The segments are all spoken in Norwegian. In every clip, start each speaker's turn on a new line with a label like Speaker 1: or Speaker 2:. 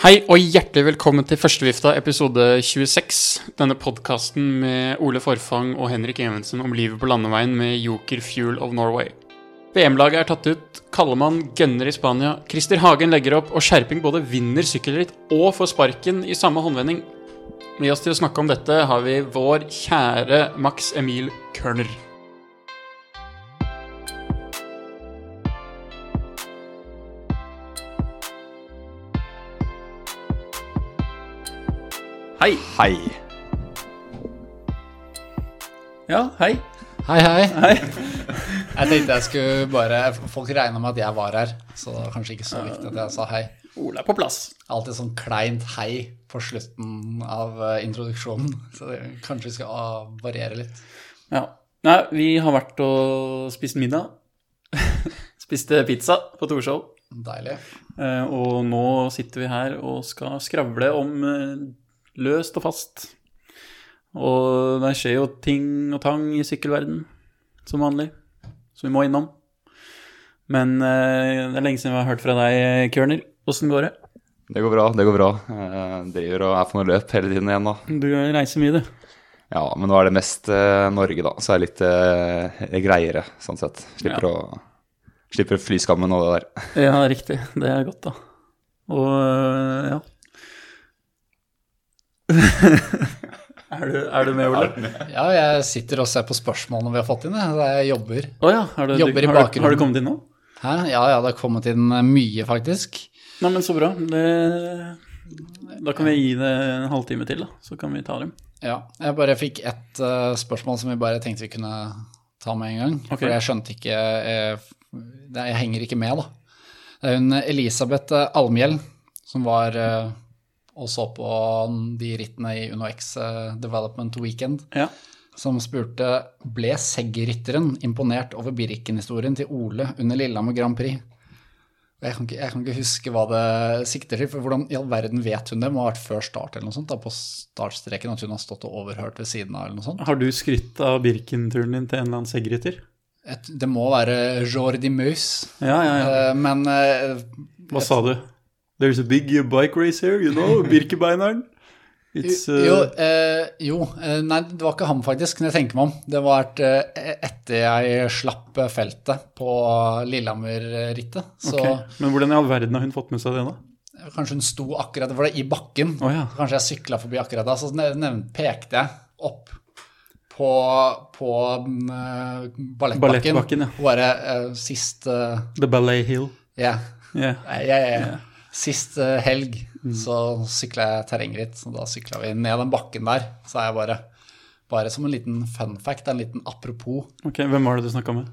Speaker 1: Hei og hjertelig velkommen til Førstevifta episode 26. Denne podkasten med Ole Forfang og Henrik Evensen om livet på landeveien med Joker Fuel of Norway. VM-laget er tatt ut, Kallemann gønner i Spania, Christer Hagen legger opp, og Skjerping både vinner sykkelritt og får sparken i samme håndvending. Med oss til å snakke om dette har vi vår kjære Max Emil Kørner.
Speaker 2: Hei.
Speaker 3: Hei.
Speaker 2: Ja, hei.
Speaker 4: Hei, hei. Jeg tenkte jeg skulle bare Folk regna med at jeg var her, så det var kanskje ikke så viktig at jeg sa hei.
Speaker 2: Ole er på plass.
Speaker 4: Alltid sånn kleint hei på slutten av eh, introduksjonen, så det, kanskje vi skal ah, variere litt.
Speaker 2: Ja. Nei, vi har vært og spist middag. Spiste pizza på Torshov.
Speaker 4: Deilig.
Speaker 2: Eh, Og nå sitter vi her og skal skravle om eh, løst og fast. Og det skjer jo ting og tang i sykkelverden, som vanlig. Så vi må innom. Men eh, det er lenge siden vi har hørt fra deg, Kørner. Åssen går det?
Speaker 3: Det går bra, det går bra. Jeg driver og er på noe løp hele tiden igjen, da.
Speaker 2: Du reiser mye, du.
Speaker 3: Ja, men nå er det mest eh, Norge, da, så er det litt eh, greiere, sånn sett. Slipper å Slipper flyskammen og det der.
Speaker 2: Ja, riktig. Det er godt, da. Og øh, ja. er, du, er du med, Ole? Å
Speaker 4: Ja, jeg sitter og ser på spørsmålene vi har fått inn, jeg. Det er jeg jobber.
Speaker 2: ja, har du,
Speaker 4: Jobber i
Speaker 2: har, du,
Speaker 4: bakgrunnen.
Speaker 2: har du kommet inn nå?
Speaker 4: Hæ? Ja, ja, det har kommet inn eh, mye, faktisk.
Speaker 2: Nei, men så bra. Det, da kan vi gi det en halvtime til, da. Så kan vi ta dem.
Speaker 4: Ja, jeg bare fikk ett eh, spørsmål som vi bare tenkte vi kunne ta med en gang.
Speaker 2: Ok.
Speaker 4: For jeg skjønte ikke eh, det- Jeg henger ikke med, da. Det er hun eh, Elisabeth Almhjell som var eh, og så på de rittene i UnoX eh, Development Weekend,
Speaker 2: Ja.
Speaker 4: som spurte ble Segg-rytteren imponert over Birken-historien til Ole under Lillehammer Grand Prix. Og Jeg kan, ikke, jeg kan ikke huske hva det sikter til, for hvordan i all verden vet hun det? Må ha vært før start eller noe sånt, da, på startstreken, at hun har stått og overhørt ved siden av eller noe sånt.
Speaker 2: Har du skrytt av Birken-turen din til en eller annen seggrytter?
Speaker 4: Et, det må være Jordi Meuse,
Speaker 2: Ja, ja, ja.
Speaker 4: eh, men eh,
Speaker 2: Hva sa du? There's a big bike race here, you know. Birkebeineren. It's uh,
Speaker 4: Jo, eh, jo eh, nei, det var ikke ham faktisk, kan jeg tenke meg om. Det var et, eh, etter jeg slapp eh, feltet på Lillehammer-rittet. Så
Speaker 2: ok. Men hvordan i all verden har hun fått med seg det, da?
Speaker 4: kanskje hun sto akkurat det var det i bakken.
Speaker 2: Å ja.
Speaker 4: Kanskje jeg sykla forbi akkurat da, så nev- nev- pekte jeg opp på, på mm, eh, ballettbakken.
Speaker 2: Ballettbakken, ja.
Speaker 4: Og bare eh, sist eh,
Speaker 2: The Ballet Hill.
Speaker 4: Ja.
Speaker 2: Yeah.
Speaker 4: Nei, jeg- jeg- Sist eh, helg
Speaker 2: Mm.
Speaker 4: så sykla jeg terrengritt, så da sykla vi ned den bakken der. Så er jeg bare Bare som en liten fun fact, en liten apropos.
Speaker 2: Ok, Hvem var det du snakka med?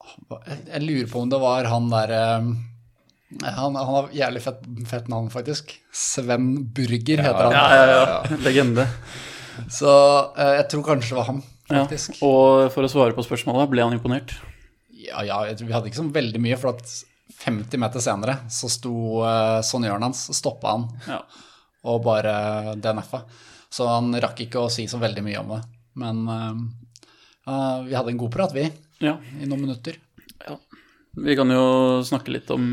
Speaker 4: Jeg jeg lurer på om det var han der eh, Han, han har jævlig fett, fett navn, faktisk. Sven Burger heter han.
Speaker 2: Ja, ja, ja. Legende.
Speaker 4: Så eh, jeg tror kanskje det var ham, faktisk. Ja,
Speaker 2: Og for å svare på spørsmålet, ble han imponert?
Speaker 4: ja, jeg tror vi hadde ikke så veldig mye, for at 50 meter senere så sto uh, sonjøren hans, stoppa han
Speaker 2: Ja.
Speaker 4: og bare DNF-a. Så han rakk ikke å si så veldig mye om det. Men eh, eh, vi hadde en god prat, vi,
Speaker 2: ja.
Speaker 4: i noen minutter.
Speaker 2: Vi kan jo snakke litt om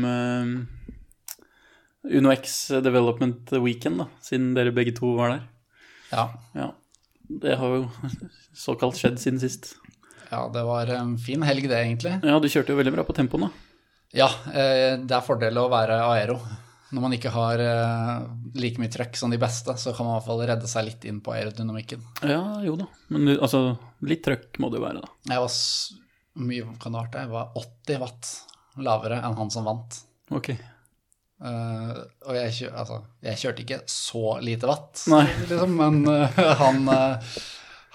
Speaker 2: eh, UnoX Development Weekend, da, siden dere begge to var der.
Speaker 4: Ja,
Speaker 2: Ja. Det har jo såkalt skjedd siden sist.
Speaker 4: ja det var en fin helg, det, egentlig.
Speaker 2: Ja, du kjørte jo veldig bra på tempoen, da.
Speaker 4: Ja, eh, det er fordel å være aero. Når man ikke har eh, like mye trøkk som de beste, så kan man i hvert fall redde seg litt inn på aerodynamikken.
Speaker 2: Ja, jo da. Men du, altså, litt trøkk må det jo være, da.
Speaker 4: Jeg var s- hvor mye kan det ha vært det? Jeg var 80 watt lavere enn han som vant.
Speaker 2: Ok.
Speaker 4: Eh, og jeg, kjø, altså, jeg kjørte ikke så lite watt,
Speaker 2: Nei.
Speaker 4: liksom, men eh, han, eh,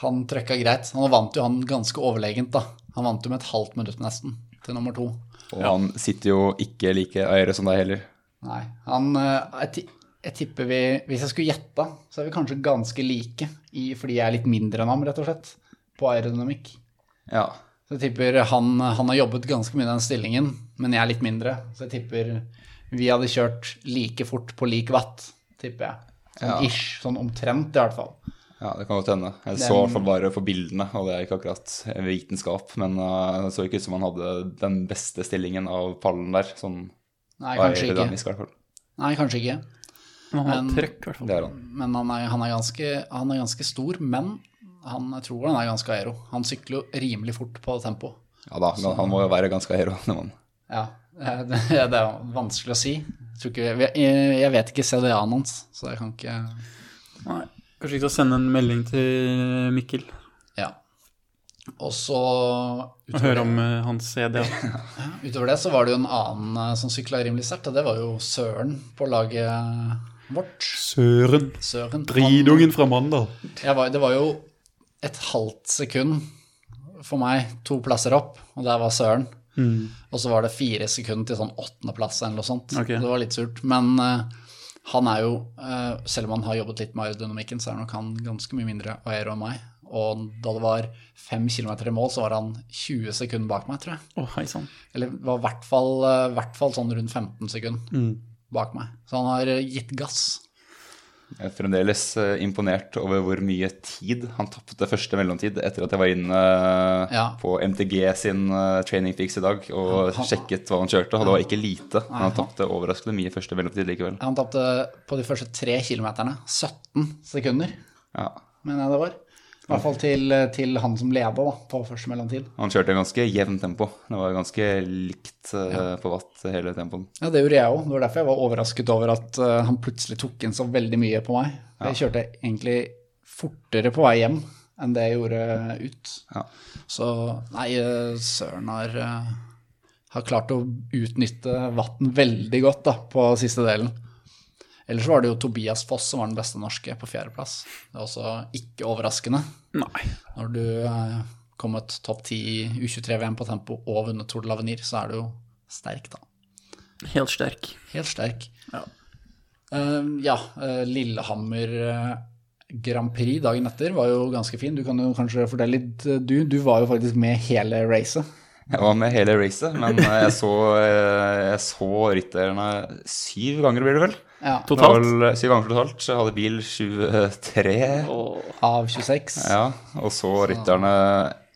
Speaker 4: han trøkka greit. Han vant jo han ganske overlegent, da. Han vant jo med et halvt minutt nesten til nummer to.
Speaker 3: Og han sitter jo ikke like øyre som deg heller.
Speaker 4: Nei, han eh, jeg, ti- jeg tipper vi Hvis jeg skulle gjette, så er vi kanskje ganske like, i, fordi jeg er litt mindre enn ham, rett og slett, på aerodynamikk.
Speaker 3: Ja.
Speaker 4: Så jeg tipper han, han har jobbet ganske mye i den stillingen, men jeg er litt mindre. Så jeg tipper vi hadde kjørt like fort på lik watt, tipper jeg. Sånn
Speaker 3: Ja.
Speaker 4: ish, sånn omtrent i hvert fall.
Speaker 3: ja, det kan godt hende. Jeg så i hvert fall bare på bildene, og det er ikke akkurat vitenskap, men eh, det så ikke ut som han hadde den beste stillingen av pallen der. Sånn
Speaker 4: Nei, kanskje ikke.
Speaker 3: aerodynamisk, i hvert fall.
Speaker 4: Nei, kanskje ikke.
Speaker 2: Men han har
Speaker 4: Men-
Speaker 2: trøkk, i hvert fall.
Speaker 3: Det er han.
Speaker 4: Men han er, han er, ganske, han er ganske stor, men han, jeg tror han er ganske aero. Han sykler jo rimelig fort på tempo.
Speaker 3: Ja da, men han må jo være ganske hero, den mannen.
Speaker 4: Ja, eh, det, det er vanskelig å si. Jeg, tror ikke, jeg, jeg vet ikke CDA-en hans, så jeg kan ikke
Speaker 2: Nei. Kanskje vi skal sende en melding til Mikkel
Speaker 4: Ja. Og så
Speaker 2: og høre om eh, hans CD.
Speaker 4: Utover det så var det jo en annen eh, som sykla rimelig sterkt, og det var jo Søren på laget vårt.
Speaker 2: Søren!
Speaker 4: Søren. han-
Speaker 2: Dridungen fra Mandal.
Speaker 4: Jeg var, det var jo et halvt sekund for meg, to plasser opp, og der var Søren. Og så var det fire sekunder til sånn åttendeplass eller noe sånt.
Speaker 2: Ok.
Speaker 4: Det var litt surt. Men eh, han er jo, eh, selv om han har jobbet litt med aerodynamikken, så er nok han ganske mye mindre aero enn meg. Og da det var fem kilometer i mål, så var han 20 sekunder bak meg, tror jeg.
Speaker 2: Å, hei sann.
Speaker 4: Eller det var i hvert fall, eh, hvert fall sånn rundt 15 sekunder bak meg. Så han har eh, gitt gass.
Speaker 3: Jeg er fremdeles eh, imponert over hvor mye tid han tapte første mellomtid etter at jeg var inne eh,
Speaker 4: Ja.
Speaker 3: på MTG sin eh, training fix i dag og
Speaker 4: Han-
Speaker 3: sjekket hva han kjørte, og det var ikke lite. Men
Speaker 4: Nei,
Speaker 3: han tapte overraskende mye første mellomtid likevel.
Speaker 4: Han tapte på de første tre kilometerne 17 sekunder.
Speaker 3: Ja.
Speaker 4: mener jeg det var. I hvert fall til, eh, til han som leda da, på første mellomtid.
Speaker 3: Han kjørte i ganske jevnt tempo. Det var ganske likt eh, på vatt hele tempoen.
Speaker 4: Ja, Det gjorde jeg òg. Det var derfor jeg var overrasket over at eh, han plutselig tok inn så veldig mye på meg. Jeg kjørte egentlig fortere på vei hjem enn det jeg gjorde eh, ut.
Speaker 3: Ja.
Speaker 4: Så nei, eh, Søren har, eh, har klart å utnytte Vatn veldig godt da, på siste delen. Ellers var det jo Tobias Foss som var den beste norske på fjerdeplass. Det er også ikke overraskende.
Speaker 2: Nei.
Speaker 4: Når du eh, kommet topp 10 i U23-VM på tempo og vunnet Tour de l'Avenir, så er du jo sterk, da.
Speaker 2: Helt sterk.
Speaker 4: Helt sterk.
Speaker 2: Ja.
Speaker 4: Eh, ja, eh, Lillehammer eh, Grand Prix dagen etter var jo ganske fin. Du kan jo kanskje fortelle litt. eh, Du, du var jo faktisk med hele racet.
Speaker 3: Jeg var med hele racet, men eh, jeg så, eh, jeg så rytterne syv ganger, blir det vel?
Speaker 4: Ja,
Speaker 3: Det var
Speaker 2: Totalt.
Speaker 3: vel Syv ganger totalt. Så jeg hadde bil eh, 23.
Speaker 4: av 26.
Speaker 3: Ja, og så rytterne,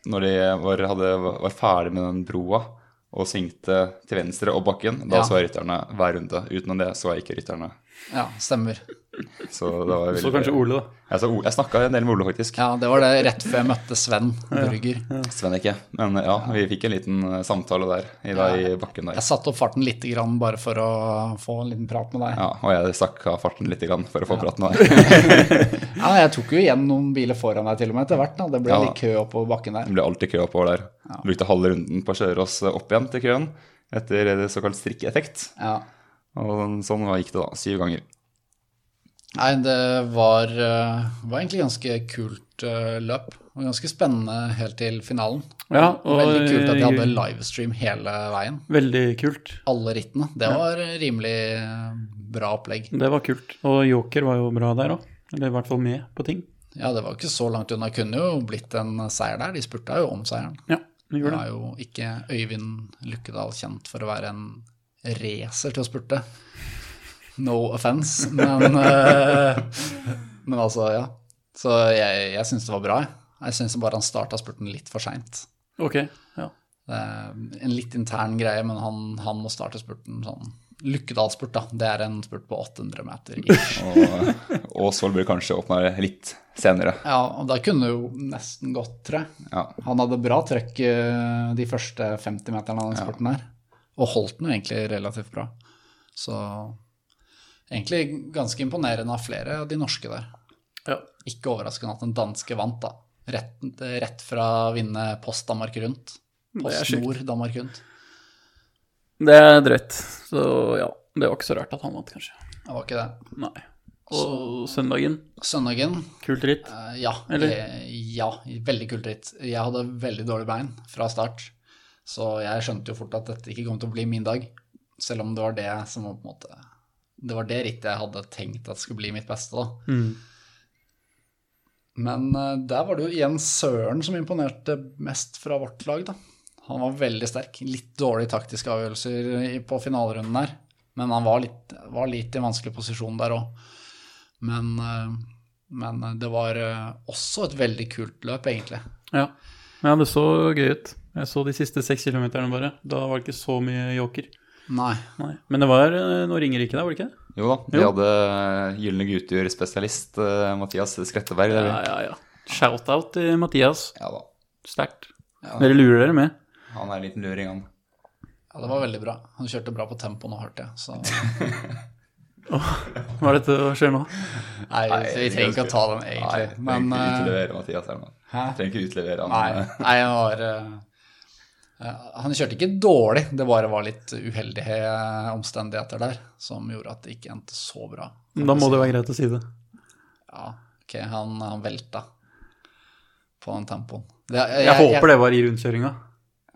Speaker 3: når de var, hadde, var ferdig med den broa og svingte til venstre opp bakken, da
Speaker 4: Ja.
Speaker 3: så jeg rytterne hver runde. Utenom det så jeg ikke rytterne.
Speaker 4: Ja, stemmer.
Speaker 3: Så det var
Speaker 2: Så kanskje Ole, da.
Speaker 3: Jeg, så O- jeg snakka en del med Ole, faktisk.
Speaker 4: Ja, det var det rett før jeg møtte Sven Burger.
Speaker 3: Sven ikke. Men ja, vi fikk en liten eh, samtale der i, da, i bakken der.
Speaker 4: Jeg satte opp farten lite grann bare for å få en liten prat med deg.
Speaker 3: Ja, og jeg stakk av farten litt grann for å få praten der.
Speaker 4: Ja, jeg tok jo igjen noen biler foran deg til og med etter hvert. Da. Det ble
Speaker 3: Ja, da.
Speaker 4: litt kø oppover bakken der.
Speaker 3: Det ble alltid kø oppover der. Brukte halve runden på å kjøre oss opp igjen til køen etter eh, såkalt strikkeffekt.
Speaker 4: Ja.
Speaker 3: Og sånn gikk det, da. Syv ganger.
Speaker 4: Nei, det var, eh, var egentlig ganske kult eh, løp. Og ganske spennende helt til finalen.
Speaker 2: Ja, og
Speaker 4: Veldig kult at de hadde livestream hele veien.
Speaker 2: Veldig kult.
Speaker 4: Alle rittene. Det var rimelig eh, bra opplegg.
Speaker 2: Det var kult. Og Joker var jo bra der òg. Eller i hvert fall med på ting.
Speaker 4: Ja, det var ikke så langt unna. Kunne jo blitt en seier der. De spurta jo om seieren.
Speaker 2: Ja, vi
Speaker 4: Nå
Speaker 2: gjorde det.
Speaker 4: er jo ikke Øyvind Lukkedal kjent for å være en racer til å spurte. No offence, men, eh, men altså, ja. Så jeg, jeg syns det var bra. jeg. Jeg syns bare han starta spurten litt for seint.
Speaker 2: Ok, ja.
Speaker 4: En litt intern greie, men han, han må starte spurten sånn. Lukkedal-spurt, da. Det er en spurt på 800 meter.
Speaker 3: Og Åsvold burde kanskje åpna litt senere.
Speaker 4: Ja, og da kunne det jo nesten gått, tror jeg.
Speaker 3: Ja.
Speaker 4: Han hadde bra trøkk eh, de første 50 meterne av den sporten her. Og holdt den jo egentlig relativt bra. Så egentlig ganske imponerende av flere av de norske der.
Speaker 2: ja.
Speaker 4: Ikke overraskende at den danske vant, da. Rett, rett fra å vinne Post Danmark rundt.
Speaker 2: Det er
Speaker 4: Post
Speaker 2: sjukt.
Speaker 4: Nord Danmark rundt.
Speaker 2: Det er drøyt. Så ja, det var ikke så rart at han vant, kanskje.
Speaker 4: Det var ikke det.
Speaker 2: Nei. Og søndagen,
Speaker 4: Søndagen,
Speaker 2: kult ritt.
Speaker 4: eh, ja.
Speaker 2: Eller?
Speaker 4: eh, Ja, veldig kult ritt. Jeg hadde veldig dårlig bein fra start, så jeg skjønte jo fort at dette ikke kom til å bli min dag. Selv om det var det som var på en måte Det var det rittet jeg hadde tenkt at skulle bli mitt beste, da.
Speaker 2: Mm.
Speaker 4: Men eh, der var det jo igjen Søren som imponerte mest fra vårt lag, da. Han var veldig sterk. Litt dårlige taktiske avgjørelser i- på finalerunden der. Men han var litt, var litt i vanskelig posisjon der òg. Men, eh, men eh, det var eh, også et veldig kult løp, egentlig.
Speaker 2: Ja. Men ja, det så gøy ut. Jeg så de siste seks kilometerne bare. Da var det ikke så mye joker.
Speaker 4: Nei.
Speaker 2: Nei. Men det var eh, noe Ringerike der, var det ikke det?
Speaker 3: Jo da, de hadde Gylne gutter-spesialist eh, Mathias Skretteberg.
Speaker 2: Ja,
Speaker 3: Der.
Speaker 2: ja, ja. Shout-out til Mathias.
Speaker 3: Ja da.
Speaker 2: Sterkt.
Speaker 4: Ja.
Speaker 2: Dere lurer dere med.
Speaker 3: Han er en liten luring, han.
Speaker 4: Ja, det var veldig bra. Han kjørte bra på tempoen og hardt, ja. Så
Speaker 2: Hva er dette som skjer nå?
Speaker 4: nei, vi trenger ikke å ta den egentlig.
Speaker 3: Nei,
Speaker 4: Men
Speaker 3: trenger ikke
Speaker 4: eh,
Speaker 3: utlevere Mathias her nå.
Speaker 4: Hæ?
Speaker 3: Trenger ikke utlevere han.
Speaker 4: Nei, nei han var eh, eh, Han kjørte ikke dårlig, det bare var litt uheldige eh, omstendigheter der som gjorde at det ikke endte så bra.
Speaker 2: Da må det være greit å si det.
Speaker 4: Ja, ok, han, han velta på den tempoen. Det, jeg,
Speaker 2: Jeg håper det var i rundkjøringa.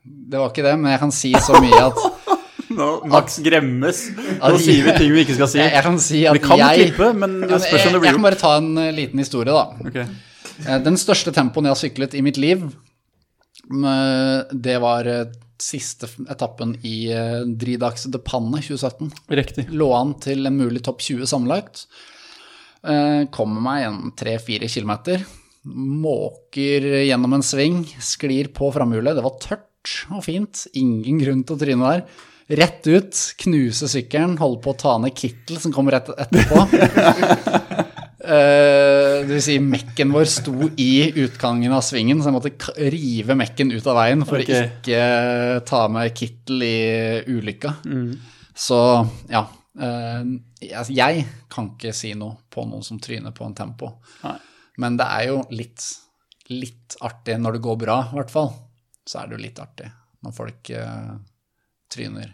Speaker 4: Det var ikke det, men jeg kan si så mye at
Speaker 2: Nå, Max gremmes. Nå
Speaker 4: At-
Speaker 2: sier vi ting vi ikke skal si.
Speaker 4: jeg, jeg kan si at
Speaker 2: Vi kan
Speaker 4: jeg
Speaker 2: klippe, men
Speaker 4: Ja,
Speaker 2: det
Speaker 4: men
Speaker 2: spørs om
Speaker 4: jeg,
Speaker 2: det
Speaker 4: jeg
Speaker 2: blir
Speaker 4: kan
Speaker 2: gjort.
Speaker 4: bare ta en eh, liten historie, da.
Speaker 2: Ok.
Speaker 4: Eh, Den største tempoen jeg har syklet i mitt liv, mm, det var eh, siste f- etappen i eh, Dridax de Panne 2017.
Speaker 2: Riktig.
Speaker 4: Lå an til en mulig topp 20 sammenlagt. Eh, Kommer meg en 3-4 kilometer. Måker gjennom en sving, sklir på framhjulet. Det var tørt og fint. Ingen grunn til å tryne der. Rett ut, knuse sykkelen, holde på å ta ned Kittel som kommer rett etterpå. Eh, det vil si, mekken vår sto i utgangen av svingen, så jeg måtte k- rive mekken ut av veien for
Speaker 2: Ok.
Speaker 4: å ikke ta med Kittel i ulykka.
Speaker 2: Mm.
Speaker 4: Så ja. eh, altså, jeg kan ikke si noe på noen som tryner på en tempo.
Speaker 2: Nei.
Speaker 4: Men det er jo litt, litt artig når det går bra, i hvert fall. Så er det jo litt artig når folk eh, tryner.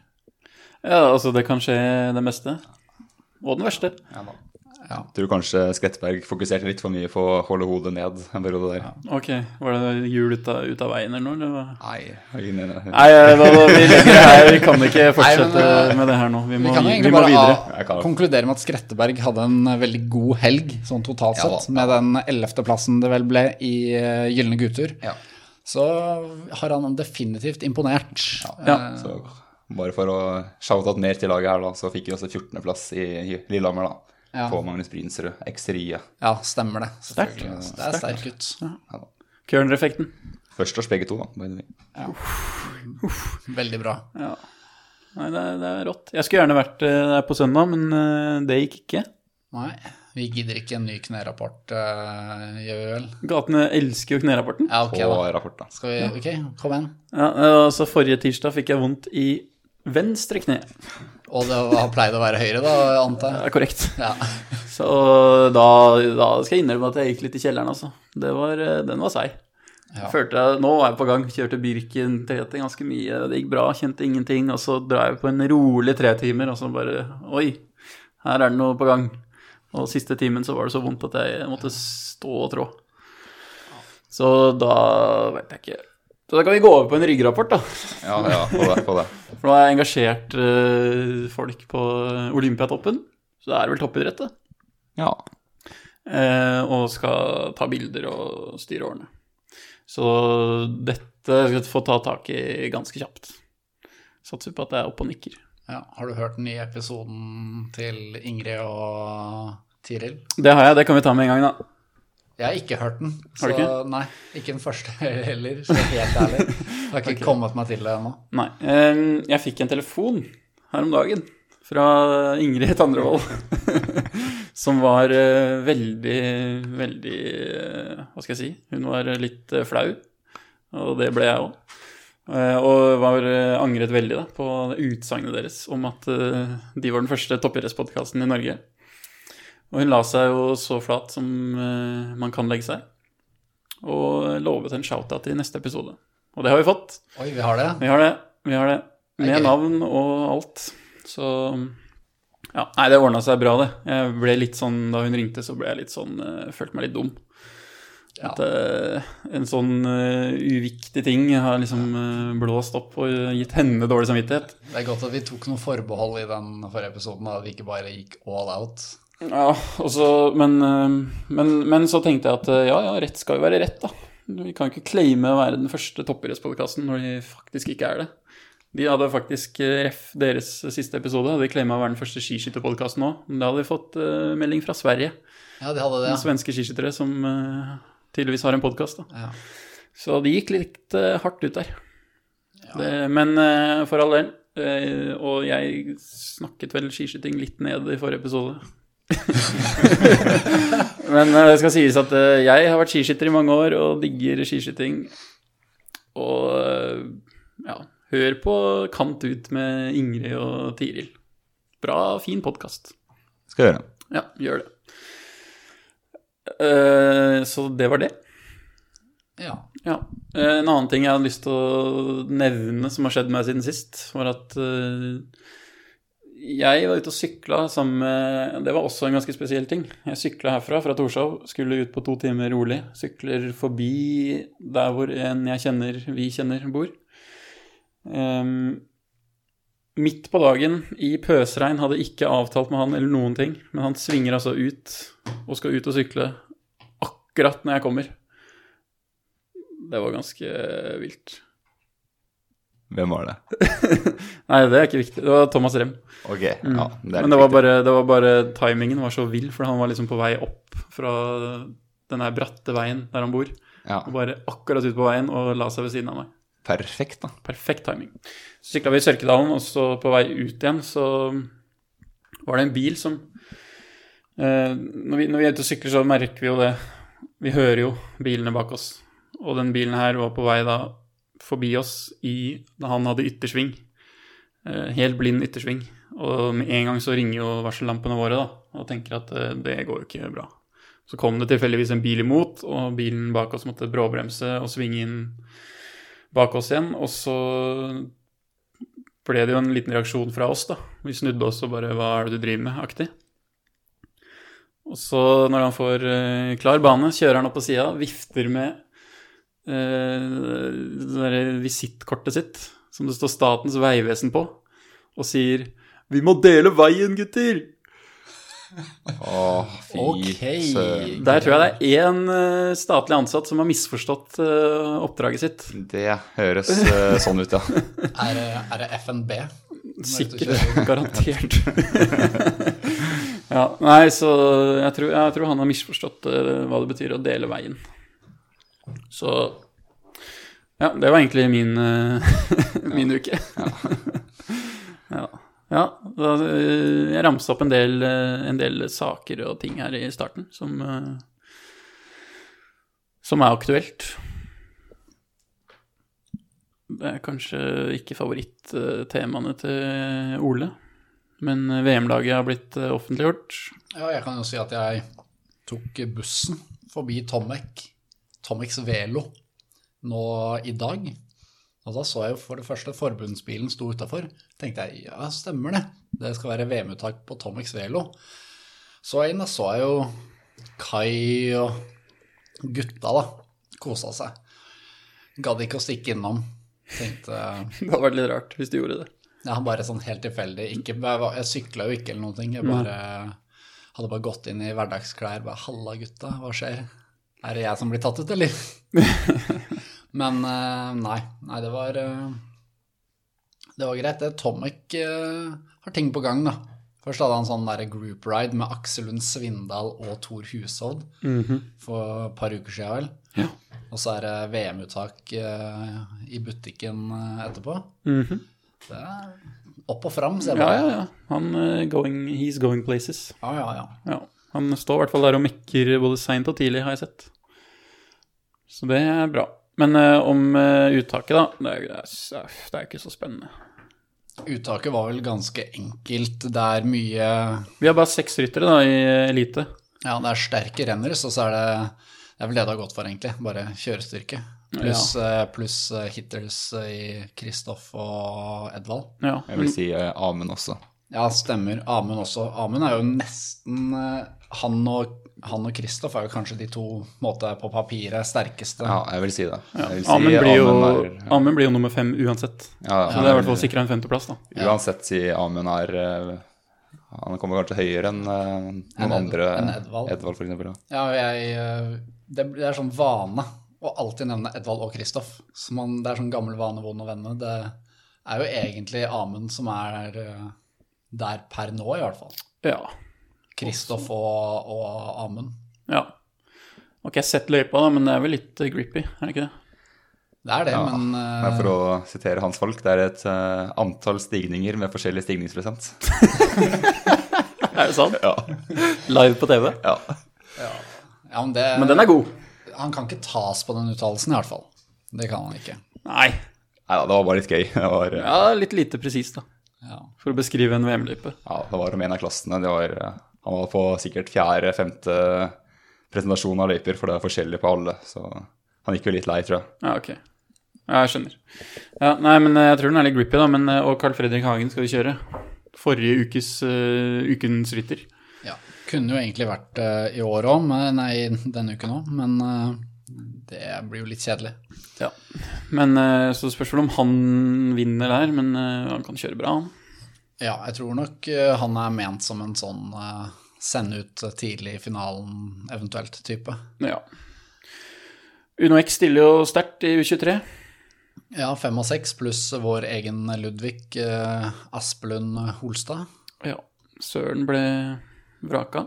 Speaker 2: Ja, altså, det kan skje det meste. Og den verste.
Speaker 3: Ja, da.
Speaker 4: Ja.
Speaker 3: Tror kanskje Skretteberg fokuserte litt for mye på å holde hodet ned en periode der.
Speaker 2: Ok, var det hjul ut av, ut av veien eller noe? Eller? hva?
Speaker 4: Nei.
Speaker 3: Jeg er enig.
Speaker 2: Nei, da, da, vi legger det her. Vi kan ikke fortsette
Speaker 4: Nei, men, eh,
Speaker 2: med det her nå. Vi må,
Speaker 4: Vi kan jo
Speaker 2: vi,
Speaker 4: egentlig
Speaker 2: må
Speaker 4: bare
Speaker 2: videre.
Speaker 4: av-
Speaker 3: Jeg kan-
Speaker 4: konkludere med at Skretteberg hadde en eh, veldig god helg, sånn totalt
Speaker 3: Ja da.
Speaker 4: sett, med den ellevteplassen det vel ble i eh, Gylne gutter.
Speaker 3: Ja.
Speaker 4: Så har han definitivt imponert.
Speaker 2: Ja.
Speaker 3: Så bare for å shoute mer til laget her, da, så fikk vi også 14.-plass i Lillehammer, da.
Speaker 4: Ja.
Speaker 3: På Magnus Brynsrud, X-riet.
Speaker 4: Ja, stemmer det. selvfølgelig.
Speaker 2: Sterkt.
Speaker 4: Det er sterk gutt.
Speaker 2: Kørner-effekten.
Speaker 3: Først oss begge to, da. by the way.
Speaker 4: Veldig bra.
Speaker 2: Ja. Nei, det er, det er rått. Jeg skulle gjerne vært eh, der på søndag, men eh, det gikk ikke.
Speaker 4: Nei, vi gidder ikke en ny knerapport, eh, gjør vi vel?
Speaker 2: Gatene elsker jo knerapporten.
Speaker 4: Ja, ok
Speaker 3: På
Speaker 4: da.
Speaker 3: rapport, da.
Speaker 4: Skal vi, ok, kom igjen.
Speaker 2: Ja, altså, forrige tirsdag fikk jeg vondt i venstre kne.
Speaker 4: Og det har pleid å være høyre da, antar
Speaker 2: Det
Speaker 4: jeg.
Speaker 2: er korrekt.
Speaker 4: Ja.
Speaker 2: Så da, da skal jeg innrømme at jeg gikk litt i kjelleren, altså. Det var, eh, den var seig.
Speaker 4: Ja.
Speaker 2: Jeg Følte jeg, nå var jeg på gang, kjørte Birken, trente ganske mye, det gikk bra, kjente ingenting, og så dreiv jeg på en rolig tre timer, og så bare, oi, her er det noe på gang. Og siste timen så var det så vondt at jeg måtte stå og trå. Så da vet jeg ikke. Så da kan vi gå over på en ryggrapport, da.
Speaker 3: Ja, ja, på det. På det.
Speaker 2: For nå har jeg engasjert eh, folk på Olympiatoppen, så det er vel toppidrett, det.
Speaker 3: Ja.
Speaker 2: Eh, og skal ta bilder og styre årene. Så dette skal jeg få ta tak i ganske kjapt. Satser på at jeg er oppe og nikker.
Speaker 4: Ja, har du hørt den nye episoden til Ingrid og Tiril?
Speaker 2: Det har jeg, det kan vi ta med en gang, da.
Speaker 4: Jeg har ikke hørt den.
Speaker 2: Har du ikke?
Speaker 4: Nei, ikke den første heller, så helt ærlig. Jeg har ikke kommet meg til det ennå.
Speaker 2: Nei. Eh, jeg fikk en telefon her om dagen fra Ingrid Tandrevold. som var eh, veldig, veldig eh, Hva skal jeg si? Hun var litt eh, flau. Og det ble jeg òg. Eh, Og var, eh, angret veldig da, på det utsagnet deres om at eh, de var den første toppidrettspodkasten i Norge. Og hun la seg jo så flat som eh, man kan legge seg, og lovet en shout-out i neste episode. Og det har vi fått.
Speaker 4: Oi, vi har det.
Speaker 2: Vi har det. Vi har det.
Speaker 4: Det er
Speaker 2: Med
Speaker 4: gøy.
Speaker 2: navn og alt. Så ja, Nei, det ordna seg bra, det. Jeg ble litt sånn, Da hun ringte, så ble jeg litt sånn eh, Følte meg litt dum.
Speaker 4: Ja.
Speaker 2: At eh, en sånn eh, uviktig ting har liksom eh, blåst opp og gitt henne dårlig samvittighet.
Speaker 4: Det er godt at vi tok noen forbehold i den forrige episoden, at vi ikke bare gikk all out.
Speaker 2: Ja, og så- men, eh, men, men så tenkte jeg at eh, ja, ja, rett skal jo være rett, da. Vi kan jo ikke claime å være den første toppidrettspodkasten når de faktisk ikke er det. De hadde faktisk eh, ref deres siste episode. hadde De claima å være den første skiskytterpodkasten òg. Men da hadde vi fått eh, melding fra Sverige.
Speaker 4: Ja, de hadde det.
Speaker 2: Ja. Svenske skiskyttere som eh, tydeligvis har en podkast.
Speaker 4: Ja.
Speaker 2: Så de gikk litt eh, hardt ut der. Det, men eh, for all del, Eh, og jeg snakket vel skiskyting litt ned i forrige episode. Men eh, det skal sies at eh, jeg har vært skiskytter i mange år og digger skiskyting. Og eh, ja, hør på Kant ut med Ingrid og Tiril. Bra, fin podkast.
Speaker 3: Skal jeg gjøre.
Speaker 2: Ja, gjør det. Eh, så det var det.
Speaker 4: Ja.
Speaker 2: Ja. eh, En annen ting jeg hadde lyst til å nevne som har skjedd meg siden sist, var at eh, jeg var ute og sykla sammen med Det var også en ganske spesiell ting. Jeg sykla herfra, fra Torshov, skulle ut på to timer rolig. Sykler forbi der hvor en jeg kjenner, vi kjenner, bor. Ehm, midt på dagen, i pøsregn, hadde ikke avtalt med han eller noen ting, men han svinger altså ut og skal ut og sykle akkurat når jeg kommer. Det var ganske eh, vilt.
Speaker 3: Hvem var det?
Speaker 2: Nei, det er ikke viktig. Det var Thomas Rem.
Speaker 3: Ok, Mm. ja. Det er
Speaker 2: Men det var,
Speaker 3: litt
Speaker 2: bare, det var bare timingen var så vill, for han var liksom på vei opp fra den her bratte veien der han bor.
Speaker 3: viktig. ja.
Speaker 2: Og bare akkurat ut på veien og la seg ved siden av meg.
Speaker 3: Perfekt, da.
Speaker 2: Perfekt timing. Så sykla vi i Sørkedalen, og så på vei ut igjen så var det en bil som eh, når, vi, når vi er ute og sykler, så merker vi jo det. Vi hører jo bilene bak oss. Og den bilen her var på vei da forbi oss i da han hadde yttersving. Eh, helt blind yttersving. Og med en gang så ringer jo varsellampene våre da, og tenker at eh, det går jo ikke bra. Så kom det tilfeldigvis en bil imot, og bilen bak oss måtte bråbremse og svinge inn bak oss igjen. Og så ble det jo en liten reaksjon fra oss, da. Vi snudde oss og bare 'hva er det du driver med?' aktig. Og så, når han får eh, klar bane, kjører han opp på sida, vifter med eh, det derre visittkortet sitt, som det står Statens vegvesen på, og sier 'Vi må dele veien, gutter!'
Speaker 3: Å, fy
Speaker 4: Ok.
Speaker 3: søren.
Speaker 2: Der tror jeg det er én eh, statlig ansatt som har misforstått eh, oppdraget sitt.
Speaker 3: Det høres eh, sånn ut, ja.
Speaker 4: Er, det- er det FNB?
Speaker 2: Sikkert. Garantert. ja, nei, så jeg tror, jeg tror han har misforstått eh, hva det betyr å dele veien. Så Ja, det var egentlig min, eh, min uke. ja. ja da, eh, jeg ramsa opp en del, eh, en del saker og ting her i starten som eh, som er aktuelt. Det er kanskje ikke favorittemaene til Ole, men VM-laget har blitt eh, offentliggjort.
Speaker 4: Ja, jeg kan jo si at jeg tok bussen forbi Tomek, Tomeks Velo, nå i dag. Og da så jeg jo for det første forbundsbilen sto utafor. Tenkte jeg ja, stemmer det. Det skal være VM-uttak på Tomeks Velo. Så inn da så jeg jo Kai og gutta, da. Kosa seg. Gadd ikke å stikke innom. Tenkte
Speaker 2: Det hadde vært litt rart hvis du gjorde det.
Speaker 4: ja, han bare sånn helt tilfeldig. Ikke, jeg var- jeg sykla jo ikke eller noen ting. Jeg bare hadde bare gått inn i hverdagsklær. Bare 'halla, gutta, hva skjer?' Er det jeg som blir tatt ut, eller? Men eh, nei. Nei, det var eh, Det var greit, det. Tomek eh, har ting på gang, da. Først hadde han sånn der group ride med Aksel Lund Svindal og Tor Hushovd
Speaker 2: Mhm.
Speaker 4: for et par uker siden, vel. Og så er det VM-uttak eh, i butikken eh, etterpå. Det er opp og fram, ser jeg
Speaker 2: Mhm. Ja,
Speaker 4: bare.
Speaker 2: ja, ja. Han eh, going, he's going places.
Speaker 4: Ja, ja, ja.
Speaker 2: Ja. Han står i hvert fall der og mekker både seint og tidlig, har jeg sett. Så det er bra. Men eh, om eh, uttaket, da. Det er, det, er, s- det er ikke så spennende.
Speaker 4: Uttaket var vel ganske enkelt. Det er mye
Speaker 2: Vi har bare seks ryttere da i elite.
Speaker 4: Ja, det er sterke renners, og så er det Det er vel det det har gått for, egentlig. Bare kjørestyrke. Pluss eh, pluss, eh, hitters eh, i Kristoff og Edvald.
Speaker 2: Ja.
Speaker 3: Jeg vil si eh, amen også.
Speaker 4: Ja, stemmer. Amund også. Amund er jo nesten eh, Han og han og Kristoff er jo kanskje de to på en måte, på papiret sterkeste.
Speaker 3: Ja, jeg vil si det. Jeg vil si
Speaker 2: Amund blir, jo-
Speaker 3: amen er-
Speaker 2: Amund blir jo nummer fem uansett.
Speaker 3: ja,
Speaker 2: Så det er i hvert fall sikra en femteplass, da.
Speaker 3: Uansett si Amund er eh, Han kommer kanskje høyere enn eh, noen
Speaker 4: Ed-
Speaker 3: andre.
Speaker 4: enn Edvald.
Speaker 3: Edvald for eksempel, ja.
Speaker 4: Ja, og jeg eh, Det det er sånn vane å alltid nevne Edvald og Kristoff. Så man- Det er sånn gammel vane, vond og venne. Det er jo egentlig Amund som er eh, der per nå, i hvert fall.
Speaker 2: Ja.
Speaker 4: Kristoff og, og Amund.
Speaker 2: Ja. Har ikke jeg sett løypa, da, men det er vel litt eh, grippy, er det ikke det?
Speaker 4: Det er det,
Speaker 3: Ja,
Speaker 4: men eh,
Speaker 3: Men for å sitere hans folk, det er et eh, antall stigninger med forskjellig stigningsprosent.
Speaker 2: Er det sant? Ja. Live på TV.
Speaker 3: Ja.
Speaker 4: ja, men det,
Speaker 2: Men den er god.
Speaker 4: han kan ikke tas på den uttalelsen, i hvert fall. Det kan han ikke.
Speaker 2: Nei.
Speaker 3: Nei da, det var bare litt gøy. Det var, eh,
Speaker 2: Ja, litt lite presist, da.
Speaker 4: Ja.
Speaker 2: For å beskrive en VM-løype.
Speaker 3: ja, det var om en av klassene. Det var, eh, han var på sikkert fjerde-femte presentasjon av løyper, for det er forskjellig på alle. Så han gikk jo litt lei, tror jeg.
Speaker 2: Ja, ok. Ja, jeg skjønner. Ja, nei, men eh, jeg tror den er litt grippy, da. Men, eh, og Carl Fredrik Hagen skal vi kjøre. Forrige ukes eh, Ukens rytter.
Speaker 4: ja. Kunne jo egentlig vært eh, i år òg, nei, denne uken òg, men eh, det blir jo litt kjedelig.
Speaker 2: Ja. Men eh, så spørs vel om han vinner der, men eh, han kan kjøre bra, han.
Speaker 4: Ja, jeg tror nok eh, han er ment som en sånn eh, sende ut tidlig i finalen, eventuelt, type.
Speaker 2: Ja. Uno X stiller jo sterkt i U23.
Speaker 4: Ja, fem og seks pluss vår egen Ludvig eh, Aspelund Holstad.
Speaker 2: Ja. Søren ble vraka.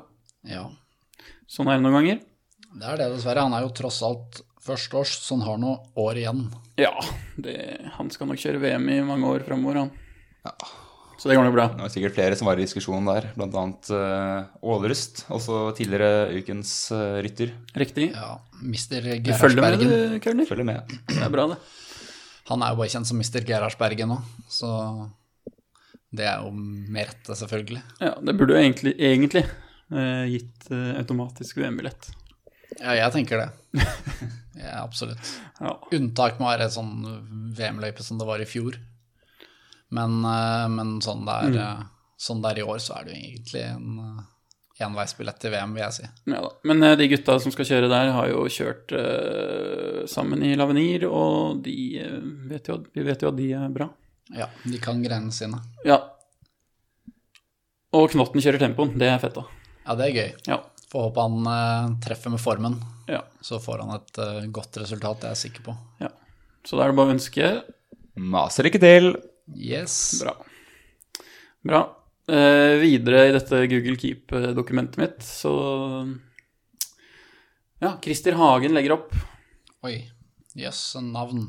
Speaker 4: Ja,
Speaker 2: Sånn er det noen ganger.
Speaker 4: det er det, dessverre. Han er jo tross alt førsteårs, så han har noen år igjen.
Speaker 2: Ja, det, han skal nok kjøre VM i mange år framover, han. Så det går nok bra.
Speaker 3: Det var sikkert flere som var i diskusjon der, bl.a. Uh, Ålerust, også tidligere ukens eh, rytter.
Speaker 2: Riktig.
Speaker 4: Ja, Mister
Speaker 2: Du følger med,
Speaker 4: Gerhardsbergen.
Speaker 2: du, Kølner.
Speaker 3: Følger med.
Speaker 2: Det er bra, det.
Speaker 4: Han er jo bare kjent som Mister Gerhardsbergen nå, så det er jo med rette, selvfølgelig.
Speaker 2: Ja, det burde jo egentlig, egentlig eh, gitt eh, automatisk VM-billett.
Speaker 4: Ja, jeg tenker det. Ja, absolutt.
Speaker 2: Ja.
Speaker 4: Unntak må være sånn VM-løype som det var i fjor. Men, eh, men sånn, det er, eh, sånn det er i år, så er det jo egentlig en eh, enveisbillett til VM, vil jeg si.
Speaker 2: ja da. Men eh, de gutta som skal kjøre der, har jo kjørt eh, sammen i Lavenir, og de eh, vet jo, at- vi vet jo at de er bra.
Speaker 4: Ja, de kan greiene sine.
Speaker 2: Ja. Og Knotten kjører tempoen. Det er fett, da.
Speaker 4: Ja, det er gøy.
Speaker 2: Ja.
Speaker 4: Får håpe han eh, treffer med formen,
Speaker 2: ja.
Speaker 4: så får han et eh, godt resultat, det er jeg sikker på.
Speaker 2: ja. Så da er det bare å ønske.
Speaker 3: Maser ikke til.
Speaker 4: Yes.
Speaker 2: Bra. Bra. Eh, videre i dette Google Keep-dokumentet mitt, så Ja, Christer Hagen legger opp.
Speaker 4: Oi. Jøss, en navn.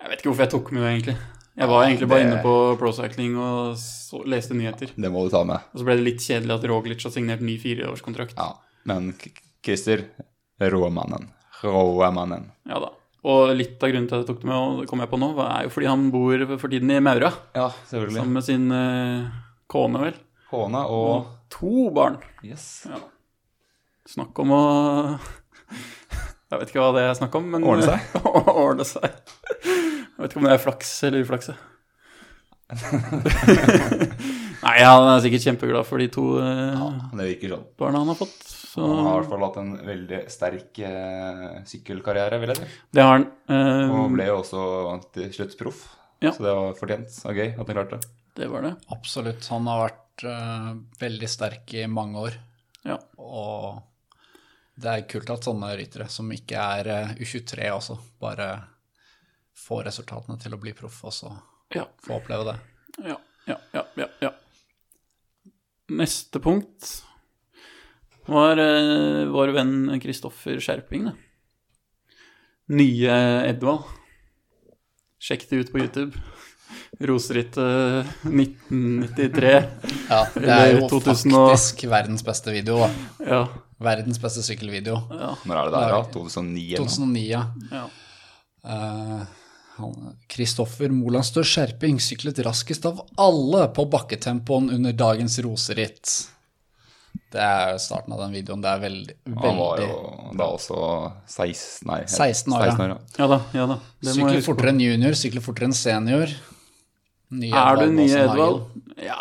Speaker 2: Jeg vet ikke hvorfor jeg tok med det, egentlig. Jeg var egentlig bare inne på procycling og så, leste nyheter.
Speaker 3: Det må du ta med.
Speaker 2: Og så ble det litt kjedelig at Roglic har signert ny fireårskontrakt.
Speaker 3: Ja. Men K- Christer, råmannen. Råmannen.
Speaker 2: Ja da. Og litt av grunnen til at jeg tok det med, og det kom jeg på nå, er jo fordi han bor for tiden i Maura
Speaker 3: Ja, selvfølgelig.
Speaker 2: sammen med sin eh, kone, vel.
Speaker 3: Håna og
Speaker 2: Og to barn.
Speaker 3: Yes.
Speaker 2: Ja. Snakk om å Jeg vet ikke hva det er snakk om, men
Speaker 3: Ordne seg?
Speaker 2: Ordne seg. Jeg vet ikke om det er flaks eller uflaks. jeg. Nei, han er sikkert kjempeglad for de to eh,
Speaker 3: Det virker sånn.
Speaker 2: barna han har fått. Så
Speaker 3: Han har i hvert fall hatt en veldig sterk eh, sykkelkarriere, vil jeg si.
Speaker 2: det har han.
Speaker 3: Og
Speaker 2: Eh,
Speaker 3: ble jo også til slutt proff.
Speaker 2: Ja.
Speaker 3: Så det var fortjent og gøy at han klarte det.
Speaker 2: det var det.
Speaker 4: Absolutt. Han har vært eh, veldig sterk i mange år.
Speaker 2: Ja.
Speaker 4: Og det er kult at sånne ryttere, som ikke er eh, U23 også, bare får resultatene til å bli proff også,
Speaker 2: Ja.
Speaker 4: få oppleve det.
Speaker 2: Ja, ja, ja, ja, ja. Neste punkt var eh, vår venn Kristoffer Skjerping, det. Nye Edvald. Sjekk det ut på YouTube. eh, Roserittet 1993.
Speaker 4: Ja, det er
Speaker 2: Eller
Speaker 4: jo
Speaker 2: 2000 og-
Speaker 4: faktisk verdens beste video, da.
Speaker 2: Ja,
Speaker 4: Verdens beste sykkelvideo.
Speaker 3: Når er det der, da? 2009 eller noe?
Speaker 4: 2009, ja.
Speaker 2: ja.
Speaker 4: Eh, han- Kristoffer Molandstø Skjerping syklet raskest av alle på bakketempoen under dagens roseritt. Det er jo starten av den videoen. Det er veldig,
Speaker 3: Han var
Speaker 4: veldig
Speaker 3: jo da også 16, nei,
Speaker 4: 16 år, ja.
Speaker 3: 16 år ja.
Speaker 2: Ja da, ja da. Det må
Speaker 4: Sykle
Speaker 2: jeg huske.
Speaker 4: fortere enn junior, sykle fortere enn senior. Nye
Speaker 2: Er du
Speaker 4: Edvald
Speaker 2: nye
Speaker 4: Aasen Hagen.
Speaker 2: Edvald? Ja,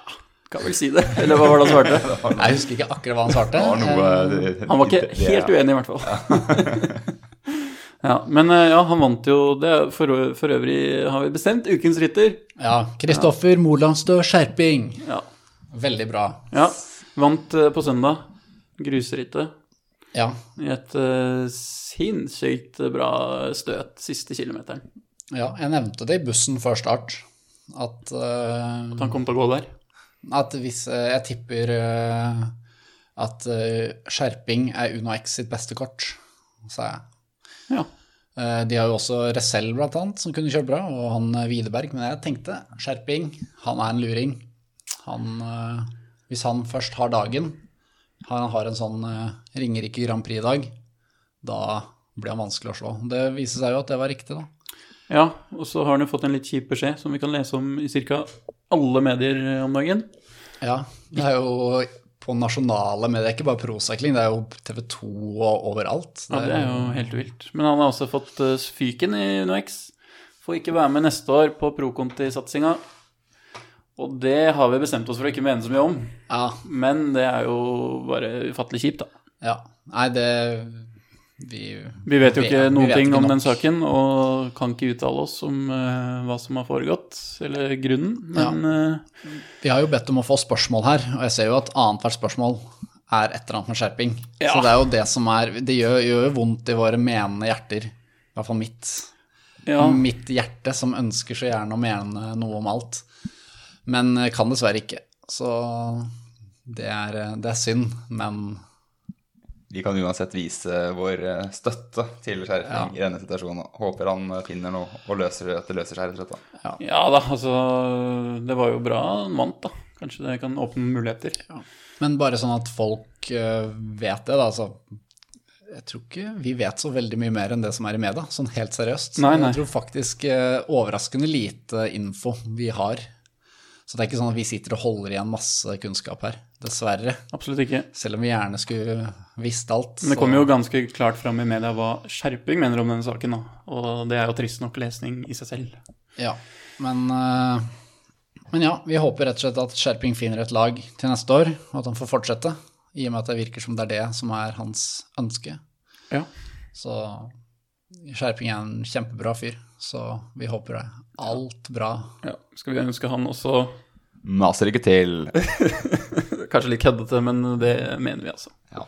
Speaker 2: kan vel si det. Eller hva var det han svarte?
Speaker 4: Nei, Jeg husker ikke akkurat hva han svarte.
Speaker 3: Det var noe
Speaker 4: Um,
Speaker 2: Han var ikke helt uenig, i hvert fall. ja, men eh, ja, han vant jo det. er For, ø- for øvrig har vi bestemt ukens rytter.
Speaker 4: Eh, Ja, Kristoffer Molandstø Skjerping.
Speaker 2: Ja.
Speaker 4: Veldig bra.
Speaker 2: ja. Vant eh, på søndag. Gruserittet.
Speaker 4: Ja,
Speaker 2: I et eh, sinnssykt bra støt siste kilometeren.
Speaker 4: ja jeg nevnte det i bussen før start. At, eh,
Speaker 2: Han kom til å gå der.
Speaker 4: at hvis eh, Jeg tipper eh, at eh, Skjerping er Uno X sitt beste kort, sa jeg.
Speaker 2: Ja.
Speaker 4: Eh, De har jo også Resell, blant annet, som kunne kjørt bra, og han eh, Widerberg. Men jeg tenkte, skjerping, han er en luring. Han, eh, hvis han først har dagen, han har en sånn eh, Ringerike Grand Prix-dag, da blir han vanskelig å slå. Det viser seg jo at det var riktig, da.
Speaker 2: Ja, og så har han jo fått en litt kjip beskjed som vi kan lese om i ca. alle medier eh, om dagen.
Speaker 4: Ja, det er jo på nasjonale medier, ikke bare Procycling, det er jo TV 2 og overalt.
Speaker 2: Ja, det er
Speaker 4: Um,
Speaker 2: jo helt vilt. Men han har også fått eh, fyken i UnoX. Får ikke være med neste år på Proconti-satsinga. Og det har vi bestemt oss for å ikke mene så mye om.
Speaker 4: Ja,
Speaker 2: Men det er jo bare ufattelig kjipt, da.
Speaker 4: ja. Nei, det Vi,
Speaker 2: Vi vet jo
Speaker 4: vi-
Speaker 2: ikke
Speaker 4: vi
Speaker 2: noen
Speaker 4: vet
Speaker 2: ting
Speaker 4: ikke
Speaker 2: om
Speaker 4: nok.
Speaker 2: den saken, og kan ikke uttale oss om eh, hva som har foregått, eller grunnen, men eh,
Speaker 4: Vi har jo bedt om å få spørsmål her, og jeg ser jo at annethvert spørsmål er et eller annet med skjerping. Så det er jo det som er Det gjør, gjør jo vondt i våre menende hjerter. I hvert fall mitt.
Speaker 2: ja.
Speaker 4: Mitt hjerte som ønsker så gjerne å mene noe om alt, men eh, kan dessverre ikke. Så det er, eh, det er synd, men
Speaker 3: Vi kan uansett vise vår eh, støtte til skjerfing i denne situasjonen. Håper han eh, finner noe og løser, at det løser seg, rett og slett. da.
Speaker 2: ja da, altså Det var jo bra han vant, da. Kanskje det kan åpne muligheter.
Speaker 4: Men bare sånn at folk eh, vet det, da. Altså, jeg tror ikke vi vet så veldig mye mer enn det som er i media, sånn helt seriøst.
Speaker 2: Nei, nei.
Speaker 4: Jeg tror faktisk eh, overraskende lite info vi har. Så det er ikke sånn at vi sitter og holder igjen masse kunnskap her, dessverre.
Speaker 2: Absolutt ikke.
Speaker 4: Selv om vi gjerne skulle visst alt.
Speaker 2: Men det
Speaker 4: så-
Speaker 2: kommer jo ganske klart fram i media hva skjerping mener om denne saken, da. Og det er jo trist nok lesning i seg selv.
Speaker 4: Ja, men, eh, men ja, vi håper rett og slett at Skjerping finner et lag til neste år, og at han får fortsette, i og med at det virker som det er det som er hans ønske.
Speaker 2: Ja.
Speaker 4: Så Skjerping er en kjempebra fyr, så vi håper det. er Alt bra.
Speaker 2: ja. Skal vi ønske han også
Speaker 3: Maser ikke til.
Speaker 2: Kanskje litt køddete, men det mener vi, altså.
Speaker 3: Ja.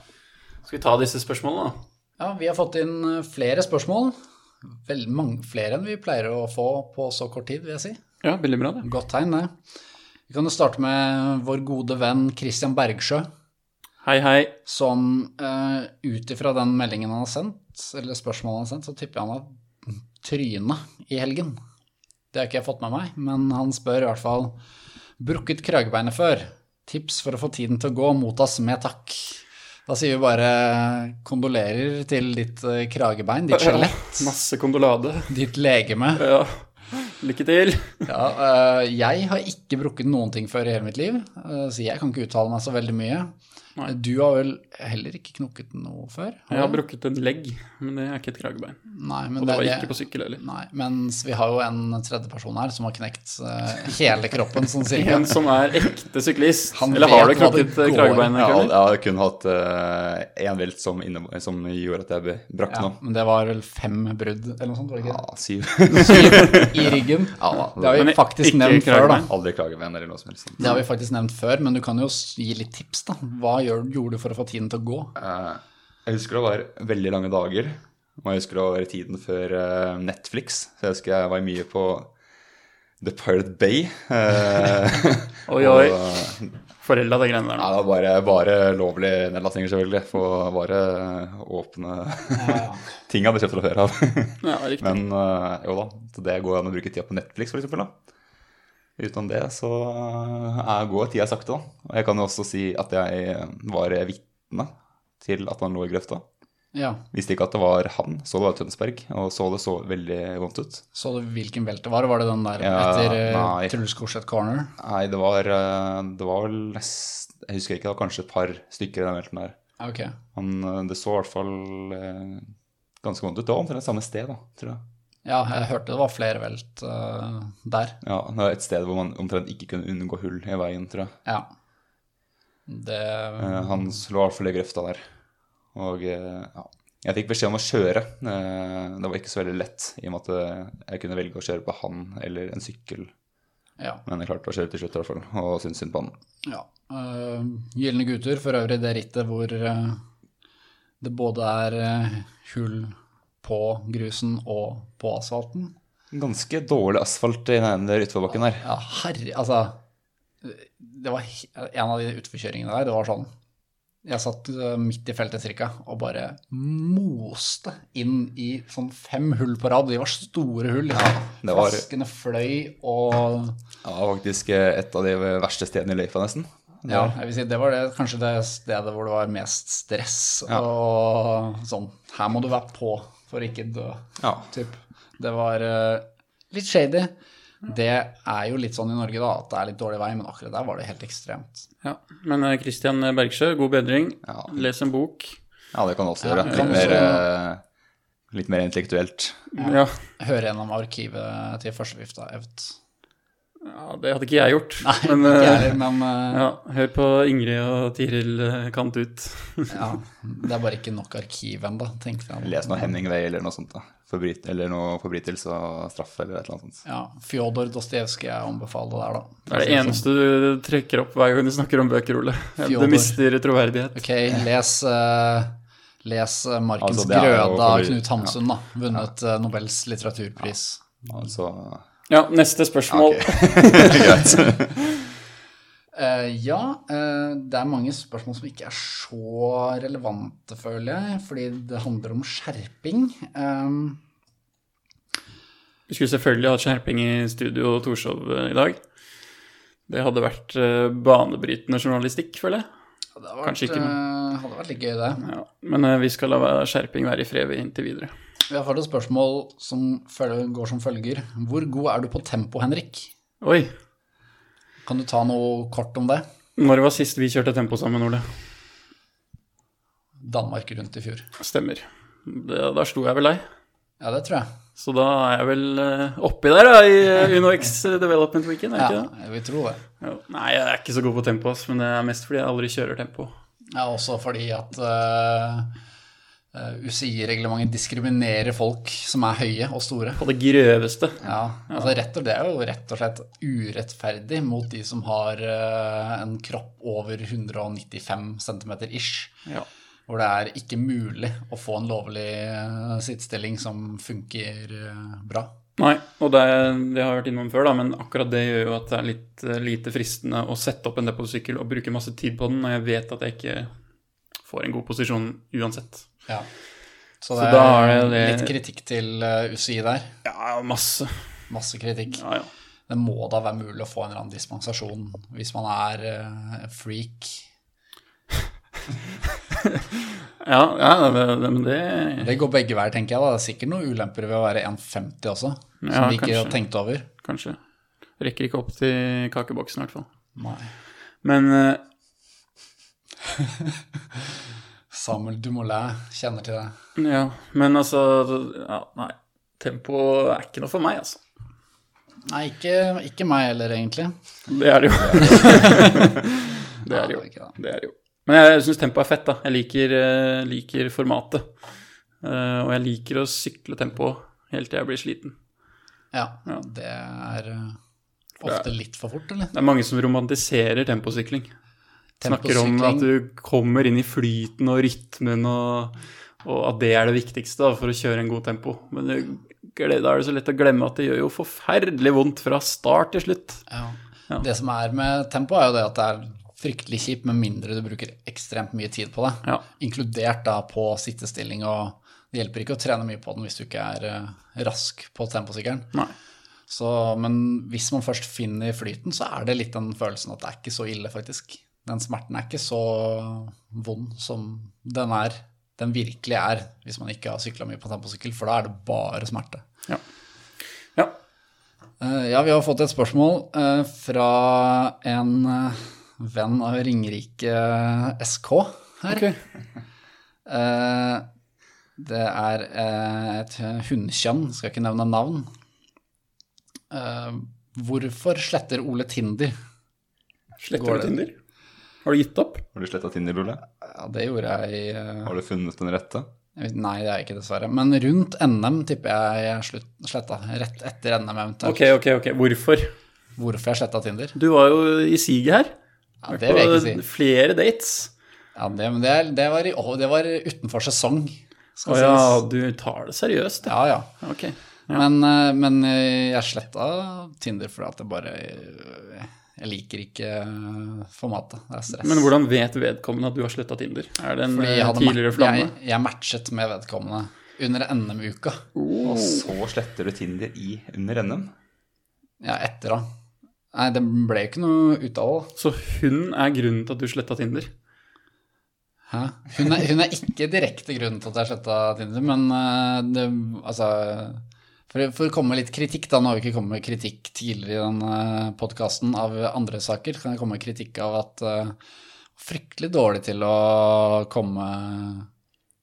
Speaker 2: Skal vi ta disse spørsmålene, da?
Speaker 4: Ja, vi har fått inn eh, flere spørsmål. Vel, mange, flere enn vi pleier å få på så kort tid, vil jeg si.
Speaker 2: Ja, veldig bra, det.
Speaker 4: Godt tegn, det. Vi kan jo starte med vår gode venn Christian Bergsjø.
Speaker 2: Hei, hei.
Speaker 4: som uh, ut ifra den meldingen han har sendt, eller spørsmålet han har sendt, så tipper jeg han har trynet i helgen. Det har ikke jeg fått med meg, men han spør i hvert fall brukket kragebeinet før. Tips for å få tiden til å gå, mottas med takk. Da sier vi bare kondolerer til ditt eh, kragebein, ditt skjelett,
Speaker 2: Masse kondolade.
Speaker 4: ditt legeme.
Speaker 2: Ja. Lykke til.
Speaker 4: Ja, eh, jeg har ikke brukket noen ting før i hele mitt liv, eh, så jeg kan ikke uttale meg så veldig mye.
Speaker 2: Nei.
Speaker 4: Du har vel heller ikke knokket noe før? har
Speaker 2: Jeg har
Speaker 4: du?
Speaker 2: brukket en legg, men det er ikke et kragebein.
Speaker 4: Nei,
Speaker 2: Og
Speaker 4: men
Speaker 2: det
Speaker 4: er
Speaker 2: var ikke på sykkel heller.
Speaker 4: Nei, mens vi har jo en tredjeperson her som har knekt eh, hele kroppen, sånn cirka.
Speaker 2: En som er ekte syklist.
Speaker 4: Han
Speaker 2: Eller har du
Speaker 4: vet hva det
Speaker 2: knokket
Speaker 4: går i.
Speaker 2: kragebeinet?
Speaker 3: Jeg har,
Speaker 2: Kjell?
Speaker 3: jeg har kun hatt én velt som, inne- som gjorde at jeg ble- brakk
Speaker 4: Ja,
Speaker 3: nå.
Speaker 4: men det var vel fem brudd eller noe sånt, var det
Speaker 3: Ja,
Speaker 4: ikke?
Speaker 3: syv.
Speaker 4: det? I ryggen.
Speaker 3: Ja,
Speaker 4: Det har
Speaker 2: Men
Speaker 4: vi faktisk
Speaker 2: ikke
Speaker 4: nevnt før, da.
Speaker 2: kragebein.
Speaker 3: Aldri klage med en eller noe som helst.
Speaker 4: Det har vi faktisk nevnt før, men du kan jo s- gi litt tips, da. Hva gjør, gjorde du for å få tiden til å gå?
Speaker 3: Eh, Jeg husker det var veldig lange dager. Og jeg husker det var i tiden før eh, Netflix. Så jeg husker jeg var mye på The Pirate Bay. eh,
Speaker 2: Oi, oi.
Speaker 3: og, eh,
Speaker 2: Forelda de greiene der nå.
Speaker 3: Nei, det var bare, bare lovlig nedlastinger, selvfølgelig. For bare eh, åpne ting jeg hadde kjøpt fra før av.
Speaker 2: Ja, riktig.
Speaker 3: Men eh, jo da, så det går an å bruke tida på Netflix, for eksempel, da. Utenom det så eh, går tida sakte, da. Og jeg kan jo også si at jeg var vitne til at han lå i grøfta.
Speaker 4: Ja,
Speaker 3: Visste ikke at det var han, så det var Tønsberg, og så det så veldig vondt ut.
Speaker 4: Så du hvilken velt det var? Var det den der
Speaker 3: Ja,
Speaker 4: etter uh,
Speaker 3: nei.
Speaker 4: Truls Korseth Corner?
Speaker 3: Nei, det var, eh, det var vel nest, Jeg husker ikke, det var kanskje et par stykker i den velten der.
Speaker 4: Ja, Ok.
Speaker 3: Han, eh, det så i hvert fall eh, ganske vondt ut. Det var omtrent samme sted, da, tror jeg.
Speaker 4: Ja, jeg hørte det var flere velt eh, der.
Speaker 3: Ja, det var et sted hvor man omtrent ikke kunne unngå hull i veien, tror jeg.
Speaker 4: Ja. Det
Speaker 3: Eh, Han slo i hvert fall i grøfta der. Og eh, ja. jeg fikk beskjed om å kjøre. Eh, Det var ikke så veldig lett, i og med at eh, jeg kunne velge å kjøre på han eller en sykkel.
Speaker 4: Ja.
Speaker 3: Men jeg klarte å kjøre til slutt, i hvert fall, og syntes synd på han.
Speaker 4: Ja. Uh, Gylne gutter, for øvrig det rittet hvor eh, det både er eh, hull på grusen og på asfalten.
Speaker 3: Ganske dårlig asfalt i den ene utforbakken her.
Speaker 4: Ja, eh, herre Altså, det var he- en av de utforkjøringene der. Det var sånn Jeg satt eh, midt i feltet cirka, og bare moste inn i sånn fem hull på rad. De var store hull. Liksom.
Speaker 3: det var-
Speaker 4: Flaskene fløy og
Speaker 3: Det var faktisk eh, et av de verste stedene i løypa, nesten.
Speaker 4: Ja, jeg vil si det var det, kanskje det stedet hvor det var mest stress
Speaker 3: Ja.
Speaker 4: og sånn. Her må du være på for ikke dø.
Speaker 3: Ja.
Speaker 4: Typ. Det var eh, litt shady. Det er jo litt sånn i Norge, da, at det er litt dårlig vei, men akkurat der var det helt ekstremt.
Speaker 2: Ja. Men eh, Christian Bergsjø, god bedring.
Speaker 3: Ja.
Speaker 2: Les en bok.
Speaker 3: ja, det kan du også gjøre.
Speaker 4: Ja,
Speaker 3: Litt
Speaker 4: kan
Speaker 3: mer,
Speaker 4: også-
Speaker 3: eh, litt mer intellektuelt.
Speaker 2: Ja.
Speaker 4: Høre gjennom arkivet til førstegifta, evt.
Speaker 2: ja, det hadde ikke jeg gjort.
Speaker 4: Nei,
Speaker 2: men,
Speaker 4: ikke jeg
Speaker 2: eh,
Speaker 4: heller, men eh,
Speaker 2: ja, hør på Ingrid og Tiril eh, Kant ut.
Speaker 4: ja, det er bare ikke nok arkiv ennå, tenkte jeg.
Speaker 3: Les noe Hemingway eller noe sånt. da. Forbryt, eller noe forbrytelse og straff eller et eller annet sånt.
Speaker 4: Ja, Fjodor Dostojevskij jeg anbefaler der, da.
Speaker 2: Det er det eneste du trekker opp hver gang du snakker om bøker, Ole. Du
Speaker 4: Fjodor.
Speaker 2: mister troverdighet.
Speaker 4: Ok, les, eh, les eh, 'Markens
Speaker 3: Altså, det er jo
Speaker 4: grøde' av
Speaker 3: favoritt.
Speaker 4: Knut Hamsun, da. Vunnet eh, Nobels litteraturpris.
Speaker 3: Altså,
Speaker 2: Ja, neste spørsmål.
Speaker 3: ok.
Speaker 4: Eh, ja, eh, det er mange spørsmål som ikke er så relevante, føler jeg, fordi det handler om skjerping. Um,
Speaker 2: Vi skulle selvfølgelig hatt skjerping i studio og Torshov eh, i dag. Det hadde vært eh, banebrytende journalistikk, føler jeg.
Speaker 4: det hadde vært,
Speaker 2: Kanskje ikke
Speaker 4: eh, hadde vært litt gøy, det.
Speaker 2: Ja, men eh, vi skal la være- skjerping være i fred inntil videre.
Speaker 4: Vi har fått et spørsmål som følger, går som følger. Hvor god er du på tempo, Henrik?
Speaker 2: Oi,
Speaker 4: Kan du ta noe kort om det?
Speaker 2: når var sist vi kjørte tempo sammen, Ole?
Speaker 4: Danmark rundt i fjor.
Speaker 2: Stemmer. Det, da slo jeg vel deg.
Speaker 4: Ja, det tror jeg.
Speaker 2: Så da er jeg vel eh, oppi der, da, i eh, UnoX Development Weekend, er jeg
Speaker 4: Ja,
Speaker 2: ikke det?
Speaker 4: jeg vil tro det.
Speaker 2: Ja. Nei, jeg er ikke så god på tempo, ass, men det er mest fordi jeg aldri kjører tempo.
Speaker 4: Ja, også fordi at eh, eh, UCI-reglementet diskriminerer folk som er høye og store.
Speaker 2: På det grøveste.
Speaker 4: Ja, altså rett og Det er jo rett og slett urettferdig mot de som har eh, en kropp over 195 cm ish.
Speaker 2: Ja.
Speaker 4: Hvor det er ikke mulig å få en lovlig eh, sittestilling som funker eh, bra.
Speaker 2: Nei, og det, det har jeg vært innom før, da, men akkurat det gjør jo at det er litt eh, lite fristende å sette opp en deposysykkel og bruke masse tid på den når jeg vet at jeg ikke får en god posisjon uansett.
Speaker 4: Ja. Så
Speaker 2: Så
Speaker 4: det er,
Speaker 2: da er det-
Speaker 4: litt kritikk til eh, UCI der.
Speaker 2: Ja, masse.
Speaker 4: Masse kritikk.
Speaker 2: Ja, ja.
Speaker 4: Det må da være mulig å få en eller annen dispensasjon hvis man er eh, freak.
Speaker 2: Ja, ja det, det, men det
Speaker 4: Det går begge veier, tenker jeg. da. Det er sikkert noen ulemper ved å være 1,50 også, som
Speaker 2: Ja,
Speaker 4: vi ikke
Speaker 2: kanskje.
Speaker 4: tenkte over.
Speaker 2: Kanskje. Rekker ikke opp til kakeboksen, i hvert fall.
Speaker 4: Nei.
Speaker 2: Men eh,
Speaker 4: Samuel Dumoulin kjenner til det.
Speaker 2: ja, men altså ja, Nei. Tempo er ikke noe for meg, altså.
Speaker 4: Nei, ikke, ikke meg heller, egentlig.
Speaker 2: Det er det jo. det er det jo.
Speaker 4: Nei, ikke det.
Speaker 2: Det er det jo. Men jeg syns tempoet er fett, da. Jeg liker, eh, liker formatet. Eh, og jeg liker å sykle tempoet helt til jeg blir sliten.
Speaker 4: Ja,
Speaker 2: Ja.
Speaker 4: det er eh, ofte litt for fort, eller?
Speaker 2: Det er mange som romantiserer temposykling. Snakker om
Speaker 4: Temposykling.
Speaker 2: at du kommer inn i flyten og rytmen, og, og at det er det viktigste da, for å kjøre en god tempo. Men det, gle- da er det så lett å glemme at det gjør jo forferdelig vondt fra start til slutt.
Speaker 4: Ja.
Speaker 2: Ja.
Speaker 4: Det som er med tempo, er jo det at det er fryktelig kjipt, med mindre du bruker ekstremt mye tid på det.
Speaker 2: Ja.
Speaker 4: Inkludert da på sittestilling, og det hjelper ikke å trene mye på den hvis du ikke er eh, rask på temposykkelen.
Speaker 2: Nei.
Speaker 4: Så, men hvis man først finner flyten, så er det litt den følelsen at det er ikke så ille, faktisk. Den smerten er ikke så vond som den er, den virkelig er, hvis man ikke har sykla mye på temposykkel, for da er det bare smerte.
Speaker 2: Ja. ja.
Speaker 4: Eh, Ja, vi har fått et spørsmål eh, fra en eh, venn av Ringerike SK her.
Speaker 2: Ok.
Speaker 4: Eh, Det er eh, et hunnkjønn, skal ikke nevne navn. Eh, Hvorfor sletter Ole Tinder? Går
Speaker 2: Sletter
Speaker 4: det?
Speaker 2: du Tinder? Har du gitt opp?
Speaker 3: Har du sletta Tinder, Ole?
Speaker 4: Ja, det gjorde jeg eh,
Speaker 3: Har du funnet den rette?
Speaker 4: jeg vet- Nei, det er jeg ikke, dessverre. Men rundt NM tipper jeg jeg slutt- sletta. Rett etter NM eventuelt.
Speaker 2: Ok, ok, ok. Hvorfor?
Speaker 4: Hvorfor jeg sletta Tinder?
Speaker 2: Du var jo i siget her.
Speaker 4: Ja, det vil jeg ikke si.
Speaker 2: Og Flere dates.
Speaker 4: Ja, det, men det, er- det, var, i- å, det var utenfor sesong,
Speaker 2: Å
Speaker 4: skal
Speaker 2: ja,
Speaker 4: sies.
Speaker 2: du tar det seriøst, ja.
Speaker 4: Ja, ja.
Speaker 2: Ok.
Speaker 4: Men, eh, men eh, jeg sletta Tinder fordi at det bare eh, Jeg liker ikke eh, formatet. Det er stress.
Speaker 2: Men hvordan vet vedkommende at du har sletta Tinder? Er det en
Speaker 4: Fordi jeg
Speaker 2: eh,
Speaker 4: hadde
Speaker 2: tidligere
Speaker 4: ma-
Speaker 2: flamme?
Speaker 4: Jeg, jeg matchet med vedkommende under NM-uka. Oh.
Speaker 2: Oh.
Speaker 3: Og så sletter du Tinder i under NM.
Speaker 4: Ja, etter da. Nei, det ble ikke noe ut av det.
Speaker 2: Så hun er grunnen til at du sletta Tinder?
Speaker 4: Hæ? Hun er, hun er ikke direkte grunnen til at jeg sletta Tinder, men eh, det, altså for, for å komme med litt kritikk, da. Nå har vi ikke kommet med kritikk tidligere i denne podkasten av andre saker. Kan jeg komme med kritikk av at eh, fryktelig dårlig til å komme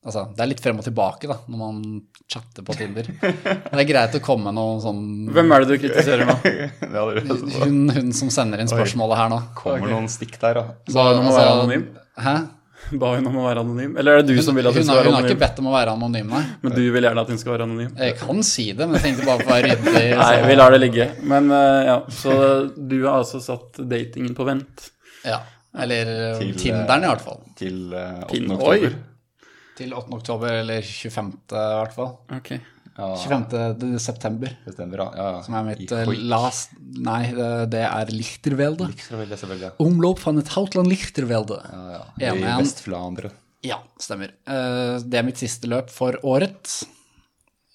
Speaker 4: Altså, det er litt frem og tilbake, da, når man chatter på Tinder. Det er greit å komme med noe sånn
Speaker 2: Hvem er det du kritiserer nå?
Speaker 3: det hadde du hørt på.
Speaker 4: hun, hun som sender inn spørsmålet her nå.
Speaker 3: Kommer noen stikk der, da.
Speaker 4: Så,
Speaker 2: hun om å være anonym?
Speaker 4: Hæ?
Speaker 2: Ba hun om å være anonym? Eller er det du
Speaker 4: Hun,
Speaker 2: som vil
Speaker 4: hun,
Speaker 2: at hun skal
Speaker 4: har-
Speaker 2: være
Speaker 4: hun har ikke
Speaker 2: anonym?
Speaker 4: bedt om å være anonym, nei.
Speaker 2: Men du vil gjerne at hun skal være anonym?
Speaker 4: Jeg kan si det, men jeg tenkte bare på å være ryddig.
Speaker 2: Nei,
Speaker 4: så-
Speaker 2: vi lar det ligge. Men eh, ja, så du har altså satt datingen på vent.
Speaker 4: Ja, Eller eh,
Speaker 3: Til, eh,
Speaker 4: Tinderen, i hvert fall.
Speaker 3: Til eh, 8.
Speaker 2: Tin-
Speaker 3: oktober.
Speaker 2: Oi.
Speaker 4: Til 8. oktober, eller 25. i hvert fall.
Speaker 2: Ok.
Speaker 3: Ja,
Speaker 4: 25. de- september,
Speaker 3: bestemmer, ja. ja, ja.
Speaker 4: som er mitt
Speaker 3: Ah. I
Speaker 4: eh,
Speaker 3: Hoi.
Speaker 4: last Nei, det det er Lichterwelde.
Speaker 3: Selvfølgelig, selvfølgelig.
Speaker 4: Omløp fra et Hautland Lichterwelde.
Speaker 3: Ja, ja.
Speaker 4: Ja,
Speaker 3: I
Speaker 4: men-
Speaker 3: Vest-Flandre.
Speaker 4: Ja, stemmer. Eh, Det er mitt siste løp for året.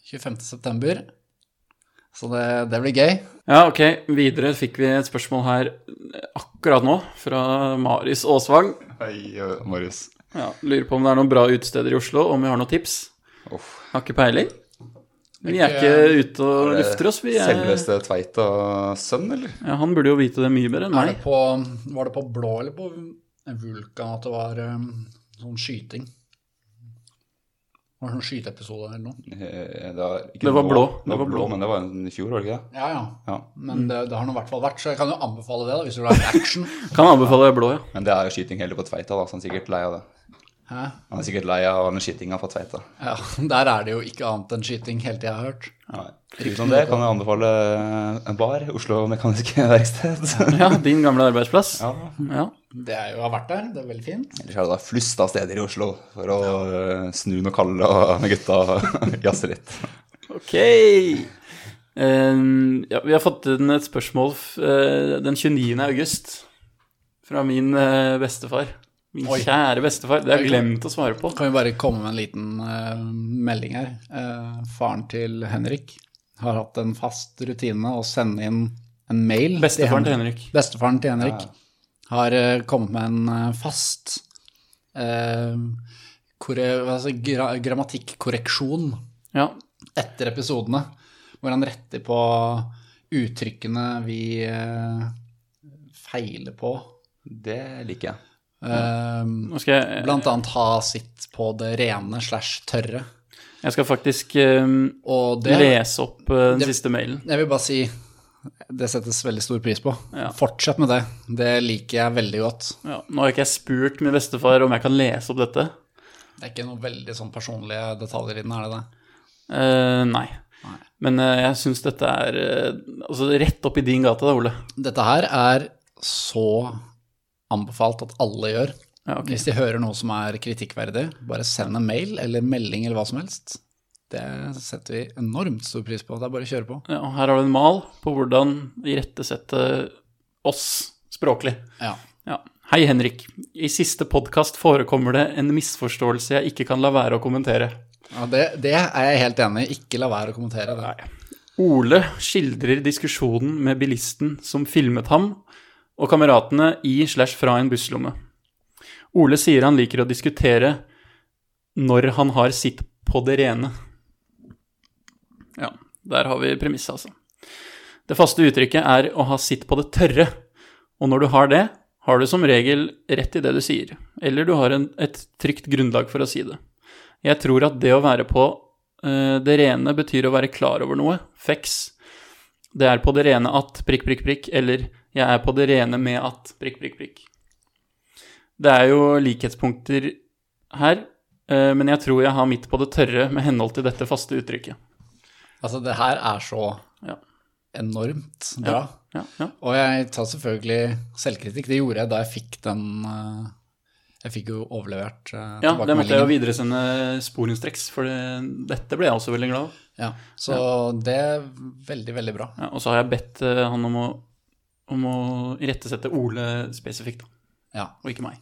Speaker 4: 25. september. Så det, det blir gøy.
Speaker 2: Ja, ok. Videre fikk vi et spørsmål her eh, akkurat nå fra Maris Aasvang.
Speaker 3: Hei, eh, Marius.
Speaker 2: Ja, lurer på om det er noen bra utesteder i Oslo, om vi har noen tips.
Speaker 3: Uff.
Speaker 2: Har ikke peiling. Vi er ikke eh, ute og lufter oss, vi. Er,
Speaker 3: Selveste Tveita sønn, eller?
Speaker 2: ja, han burde jo vite det mye bedre enn
Speaker 4: Er
Speaker 2: meg.
Speaker 4: det på, var det på blå eller på Vulkan at det var um, sånn skyting? Var det sånn skyteepisode eller noe?
Speaker 3: Eh, Det var, ikke
Speaker 2: Det var
Speaker 3: nå.
Speaker 2: blå.
Speaker 3: Det var blå, men det var en i fjor, var det ikke det?
Speaker 4: Ja, ja.
Speaker 3: Ja.
Speaker 2: Mm.
Speaker 4: Men det, det har nå i hvert fall vært, så jeg kan jo anbefale det, da, hvis du vil ha action.
Speaker 2: Kan anbefale blå, ja.
Speaker 3: Men det er jo skyting heller på Tveita, da, så han er sikkert lei av det.
Speaker 4: Hæ?
Speaker 3: Han er sikkert lei av den skytinga på Tveita.
Speaker 4: Ja, der er det jo ikke annet enn skyting, hele tida jeg har hørt.
Speaker 3: Nei. Utenom det kan jeg anbefale eh, en bar, Oslo Mekaniske Verksted.
Speaker 2: Ja, Din gamle arbeidsplass.
Speaker 3: Ja.
Speaker 2: Ja.
Speaker 4: Det er jo, har vært der, det er veldig fint.
Speaker 3: Ellers er det da flust av steder i Oslo for å eh, snu noe kalde og med gutta og jazze litt.
Speaker 2: Ok. Ehm, ja, vi har fått inn et spørsmål f- eh, den 29. august fra min eh, bestefar. Min
Speaker 4: Oi.
Speaker 2: kjære bestefar. Det har jeg glemt å svare på.
Speaker 4: Kan vi bare komme med en liten eh, melding her. Eh, faren til Henrik har hatt en fast rutine å sende inn en mail. til
Speaker 2: Bestefaren til
Speaker 4: Henrik.
Speaker 2: Henrik.
Speaker 4: Bestefaren til Henrik har eh, kommet med en eh, fast eh, korre- altså, gra grammatikkorreksjon
Speaker 2: Ja.
Speaker 4: etter episodene, hvor han retter på uttrykkene vi eh, feiler på.
Speaker 3: Det liker jeg.
Speaker 4: Eh,
Speaker 2: Nå skal jeg,
Speaker 4: blant annet ha sitt på det rene slash tørre.
Speaker 2: jeg skal faktisk ehm,
Speaker 4: Og det
Speaker 2: lese opp eh, den
Speaker 4: det-
Speaker 2: siste mailen.
Speaker 4: Jeg vil bare si det settes veldig stor pris på.
Speaker 2: Ja.
Speaker 4: Fortsett med det. Det liker jeg veldig godt.
Speaker 2: Ja. Nå har ikke jeg spurt min bestefar om jeg kan lese opp dette.
Speaker 4: Det er ikke noen veldig sånn personlige detaljer i den, er det det?
Speaker 2: Eh, nei.
Speaker 4: Nei.
Speaker 2: Men eh, jeg syns dette er eh, altså rett opp i din gate, da, Ole.
Speaker 4: Dette her er så anbefalt at alle gjør.
Speaker 2: Ja, ok.
Speaker 4: Hvis de hører noe som er kritikkverdig, bare send en mail eller melding eller hva som helst. Det setter vi enormt stor pris på. Det er bare å kjøre på.
Speaker 2: Ja, og her har du en mal på hvordan irettesette oss språklig.
Speaker 4: Ja.
Speaker 2: Ja. Hei, Henrik. I siste podkast forekommer det en misforståelse jeg ikke kan la være å kommentere.
Speaker 4: Ja, det, det er jeg helt enig i. Ikke la være å kommentere det.
Speaker 2: Ole skildrer diskusjonen med bilisten som filmet ham, og kameratene i slash fra en busslomme. Ole sier han liker å diskutere når han har sitt på det rene. Ja, der har vi premisset, altså. Det faste uttrykket er å ha sitt på det tørre, og når du har det, har du som regel rett i det du sier, eller du har en, et trygt grunnlag for å si det. Jeg tror at det å være på eh, det rene betyr å være klar over noe, feks. Det er på det rene at prikk, prikk, prikk, eller jeg er på det rene med at prikk, prikk, prikk. Det er jo likhetspunkter her, eh, men jeg tror jeg har mitt på det tørre med henhold til dette faste uttrykket.
Speaker 4: Altså, det her er så
Speaker 2: Ja.
Speaker 4: enormt bra.
Speaker 2: Ja, ja.
Speaker 4: Og jeg tar selvfølgelig selvkritikk. Det gjorde jeg da jeg fikk den eh, Jeg fikk jo overlevert uh,
Speaker 2: ja det måtte jeg jo videresende sporenstreks, for det, dette ble jeg også veldig glad av.
Speaker 4: Ja, så det er veldig, veldig bra.
Speaker 2: Ja, og så har jeg bedt eh, han om å om å irettesette Ole spesifikt, da,
Speaker 4: Ja.
Speaker 2: og ikke meg.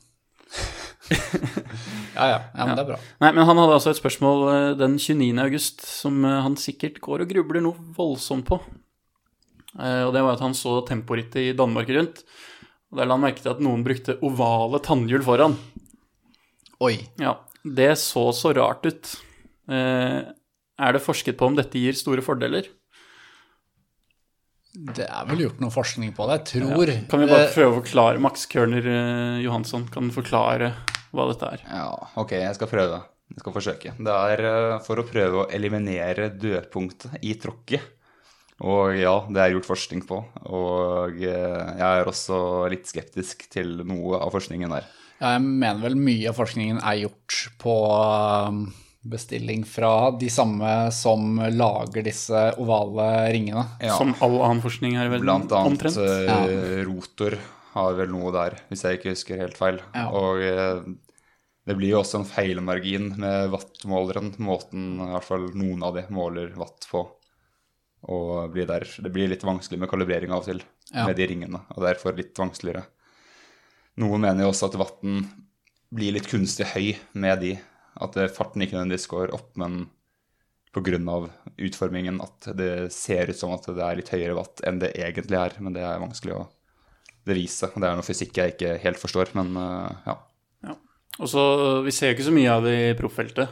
Speaker 4: Ja, ja. ja, men det er bra.
Speaker 2: Nei, men han hadde altså et spørsmål eh, den 29. august som eh, han sikkert går og grubler noe voldsomt på. Eh, Og det var at han så temporittet i Danmark rundt, og der la han merke til at noen brukte ovale tannhjul foran.
Speaker 4: Oi.
Speaker 2: Ja, det så så rart ut. Eh, Er det forsket på om dette gir store fordeler?
Speaker 4: Det er vel gjort noe forskning på det, jeg tror.
Speaker 2: Kan vi bare
Speaker 4: Eh,
Speaker 2: prøve å forklare Max Kørner eh, Johansson kan forklare hva dette er.
Speaker 3: Ja, ok, jeg skal prøve. Jeg skal forsøke. Det er eh, for å prøve å eliminere dødpunktet i tråkket. Og ja, det er gjort forskning på. Og eh, jeg er også litt skeptisk til noe av forskningen der.
Speaker 4: Ja, jeg mener vel mye av forskningen er gjort på um, bestilling fra de samme som lager disse ovale ringene.
Speaker 3: Ja,
Speaker 2: Som all annen forskning her i verden,
Speaker 3: Blant annet
Speaker 2: omtrent.
Speaker 3: eh, rotor har vel noe der, hvis jeg ikke husker helt feil.
Speaker 4: Ja.
Speaker 3: Og eh, det blir jo også en feilmargin med wattmåleren, måten i hvert fall noen av de måler watt på. Og blir der. Det blir litt vanskelig med kalibrering av og til
Speaker 4: Ja.
Speaker 3: med de ringene, og derfor litt vanskeligere. Noen mener jo også at watten blir litt kunstig høy med de. At eh, farten ikke nødvendigvis går opp, men pga. utformingen at det ser ut som at det er litt høyere watt enn det egentlig er. Men det er vanskelig å bevise. og Det er noe fysikk jeg ikke helt forstår, men eh, ja.
Speaker 2: Og så, eh, Vi ser jo ikke så mye av det i profffeltet.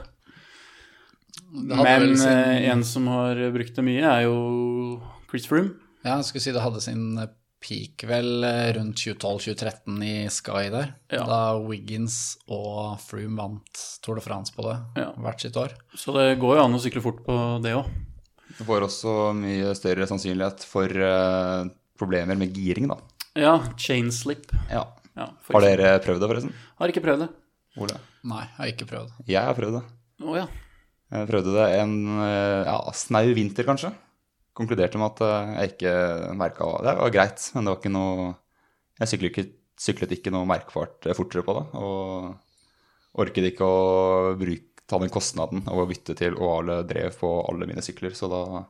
Speaker 4: Det hadde
Speaker 2: Men
Speaker 4: vel sin,
Speaker 2: eh, en som har brukt det mye, er jo Chris Froome.
Speaker 4: ja, jeg skulle si det hadde sin eh, peak vel eh, rundt 2012-2013 i Sky der,
Speaker 2: Ja.
Speaker 4: da Wiggins og Froome vant Tour de France på det
Speaker 2: Ja.
Speaker 4: hvert sitt år.
Speaker 2: Så det går jo an å sykle fort på det òg.
Speaker 3: Du får også mye større sannsynlighet for eh, problemer med giring, da.
Speaker 2: Ja, chainslip.
Speaker 3: Ja.
Speaker 2: Ja, for
Speaker 3: Har dere prøvd det, forresten?
Speaker 2: eksempel. har ikke prøvd det.
Speaker 3: Ole?
Speaker 4: Nei, jeg har ikke prøvd.
Speaker 3: Jeg har prøvd det.
Speaker 2: Å ja.
Speaker 3: Jeg prøvde det en eh, ja, snau vinter, kanskje. Konkluderte med at eh, jeg ikke merka Det var greit, men det var ikke noe Jeg syklet ikke, syklet ikke noe merkbart eh, fortere på det. Og orket ikke å bruke, ta den kostnaden av å bytte til ovale drev på alle mine sykler. Så da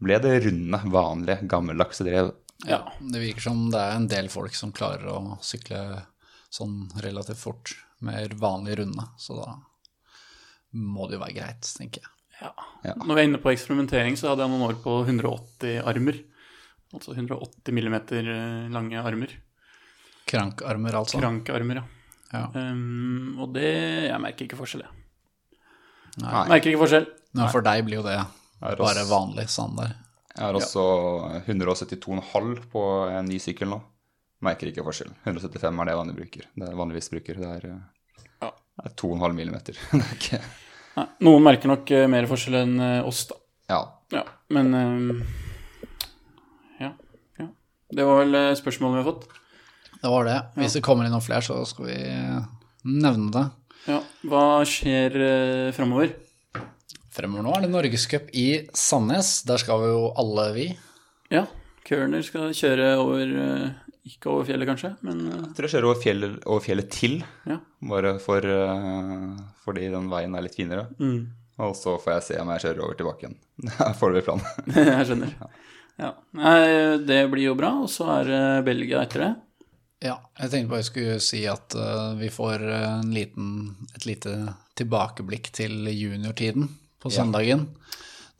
Speaker 3: ble det runde, vanlige, gammeldagse drev.
Speaker 2: ja.
Speaker 4: Det virker som det er en del folk som klarer å sykle sånn relativt fort med vanlig runde, så da må det jo være greit, tenker jeg.
Speaker 2: ja.
Speaker 3: Ja.
Speaker 2: Når vi er inne på eksperimentering, så hadde jeg noen år på 180 armer. Altså 180 millimeter eh, lange armer.
Speaker 4: Krankarmer, altså.
Speaker 2: Krankarmer, ja.
Speaker 4: Ja.
Speaker 2: Ehm, og det Jeg merker ikke forskjell, jeg.
Speaker 3: Nei.
Speaker 2: Merker ikke forskjell.
Speaker 4: Men for deg blir jo det
Speaker 3: Er
Speaker 4: bare
Speaker 3: oss-
Speaker 4: vanlig standard.
Speaker 3: Jeg har også 172,5 på en ny sykkel nå. Merker ikke forskjell. 175 er det jeg vanlig bruker. Det er vanligvis bruker. Det er, eh,
Speaker 2: Ja.
Speaker 3: det er 2,5 millimeter. Det er ikke
Speaker 2: Nei, noen merker nok eh, mer forskjell enn eh, oss, da.
Speaker 3: Ja.
Speaker 2: Ja, men ehm, ja, ja. Det var vel eh, spørsmålet vi har fått.
Speaker 4: Det var det. Hvis det kommer inn noen flere, så skal vi nevne det.
Speaker 2: Ja, Hva skjer uh, framover?
Speaker 4: Fremover nå er det Norgescup i Sandnes. Der skal vi jo alle, vi.
Speaker 2: Ja, Kørner skal kjøre over eh, Ikke over fjellet, kanskje, men eh,
Speaker 3: Jeg tror jeg kjører over fjellet, over fjellet til,
Speaker 2: ja.
Speaker 3: bare for, eh, fordi den veien er litt finere.
Speaker 2: Mm.
Speaker 3: Og så får jeg se om jeg kjører over tilbake igjen. Det er foreløpig planen.
Speaker 2: Jeg skjønner. Ja. Nei, det blir jo bra, og så er det Belgia etter det.
Speaker 4: Ja, jeg tenkte bare jeg skulle si at eh, vi får en liten, et lite tilbakeblikk til juniortiden på søndagen.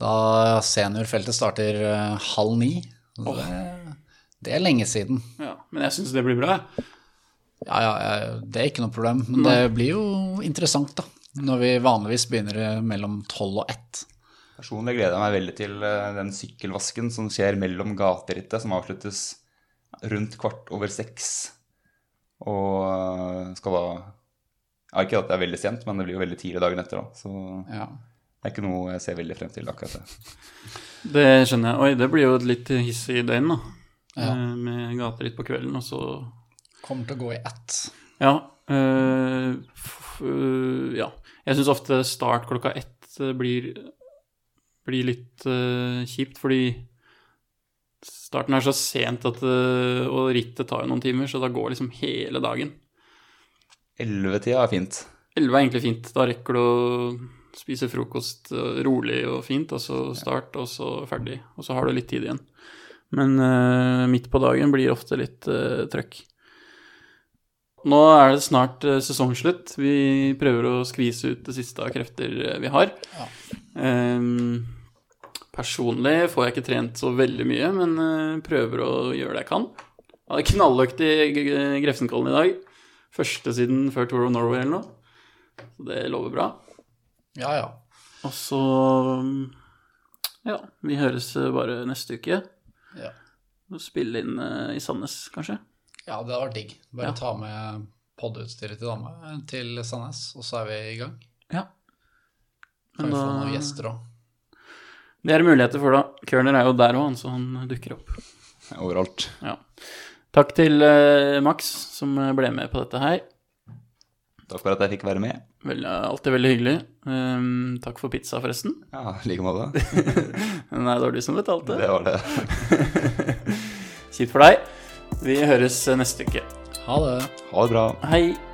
Speaker 4: Da seniorfeltet starter eh, halv ni. Så Det, det er lenge siden.
Speaker 2: Ja, men jeg syns det blir bra. jeg.
Speaker 4: Ja, ja, ja, det er ikke noe problem. Men det blir jo interessant, da. Når vi vanligvis begynner eh, mellom tolv og ett.
Speaker 3: Personlig gleder jeg meg veldig til eh, den sykkelvasken som skjer mellom gaterittet, som avsluttes rundt kvart over seks. Og eh, skal da ja, Ikke at det er veldig sent, men det blir jo veldig tidlig dagen etter. da. Så det
Speaker 4: Ja.
Speaker 3: er ikke noe jeg ser veldig frem til akkurat det.
Speaker 2: Det skjønner jeg. Oi, det blir jo et litt hissig døgn, da. Eh, Med gateritt på kvelden, og så
Speaker 4: Kommer til å gå i ett.
Speaker 2: Ja. øh, f- øh, ja. Jeg syns ofte start klokka ett øh, blir, blir litt øh, kjipt, fordi starten er så sent at øh, Og rittet tar jo noen timer, så da går liksom hele dagen.
Speaker 3: Ellevetida er fint.
Speaker 2: Elleve er egentlig fint. Da rekker du å spise eh, frokost øh, rolig og fint, og så start, og så ferdig. Og så har du litt tid igjen. Men eh, midt på dagen blir ofte litt eh, trøkk. Nå er det snart eh, sesongslutt. Vi prøver å skvise ut det siste av krefter eh, vi har. Ehm, personlig får jeg ikke trent så veldig mye, men eh, prøver å gjøre det jeg kan. Jeg hadde knalløkt i G- G- Grefsenkollen i dag. Første siden før Tour of Norway eller noe. Så det lover bra.
Speaker 4: Ja, ja.
Speaker 2: Og så Ja, vi høres eh, bare neste uke.
Speaker 4: Ja.
Speaker 2: Og spille inn eh, i Sandnes, kanskje.
Speaker 4: Ja, det hadde vært digg. Bare
Speaker 2: Ja.
Speaker 4: ta med podutstyret til dama eh, til Sandnes, og så er vi i gang.
Speaker 2: Ja.
Speaker 4: Kan
Speaker 2: Men
Speaker 4: vi få
Speaker 2: da-
Speaker 4: noen gjester òg.
Speaker 2: Det er muligheter for det. Kørner er jo der òg, så han dukker opp.
Speaker 3: Overalt.
Speaker 2: Ja. Takk til eh, Max, som eh, ble med på dette her.
Speaker 3: Takk for at jeg fikk være med.
Speaker 2: Vel, eh, alltid veldig hyggelig. Ehm, takk for pizza, forresten.
Speaker 3: Ja, i like måte.
Speaker 2: Den er dårlig som betalte.
Speaker 3: Det var det.
Speaker 2: Kjipt for deg. Vi høres eh, neste uke.
Speaker 4: Ha det.
Speaker 3: Ha det bra.
Speaker 2: Hei.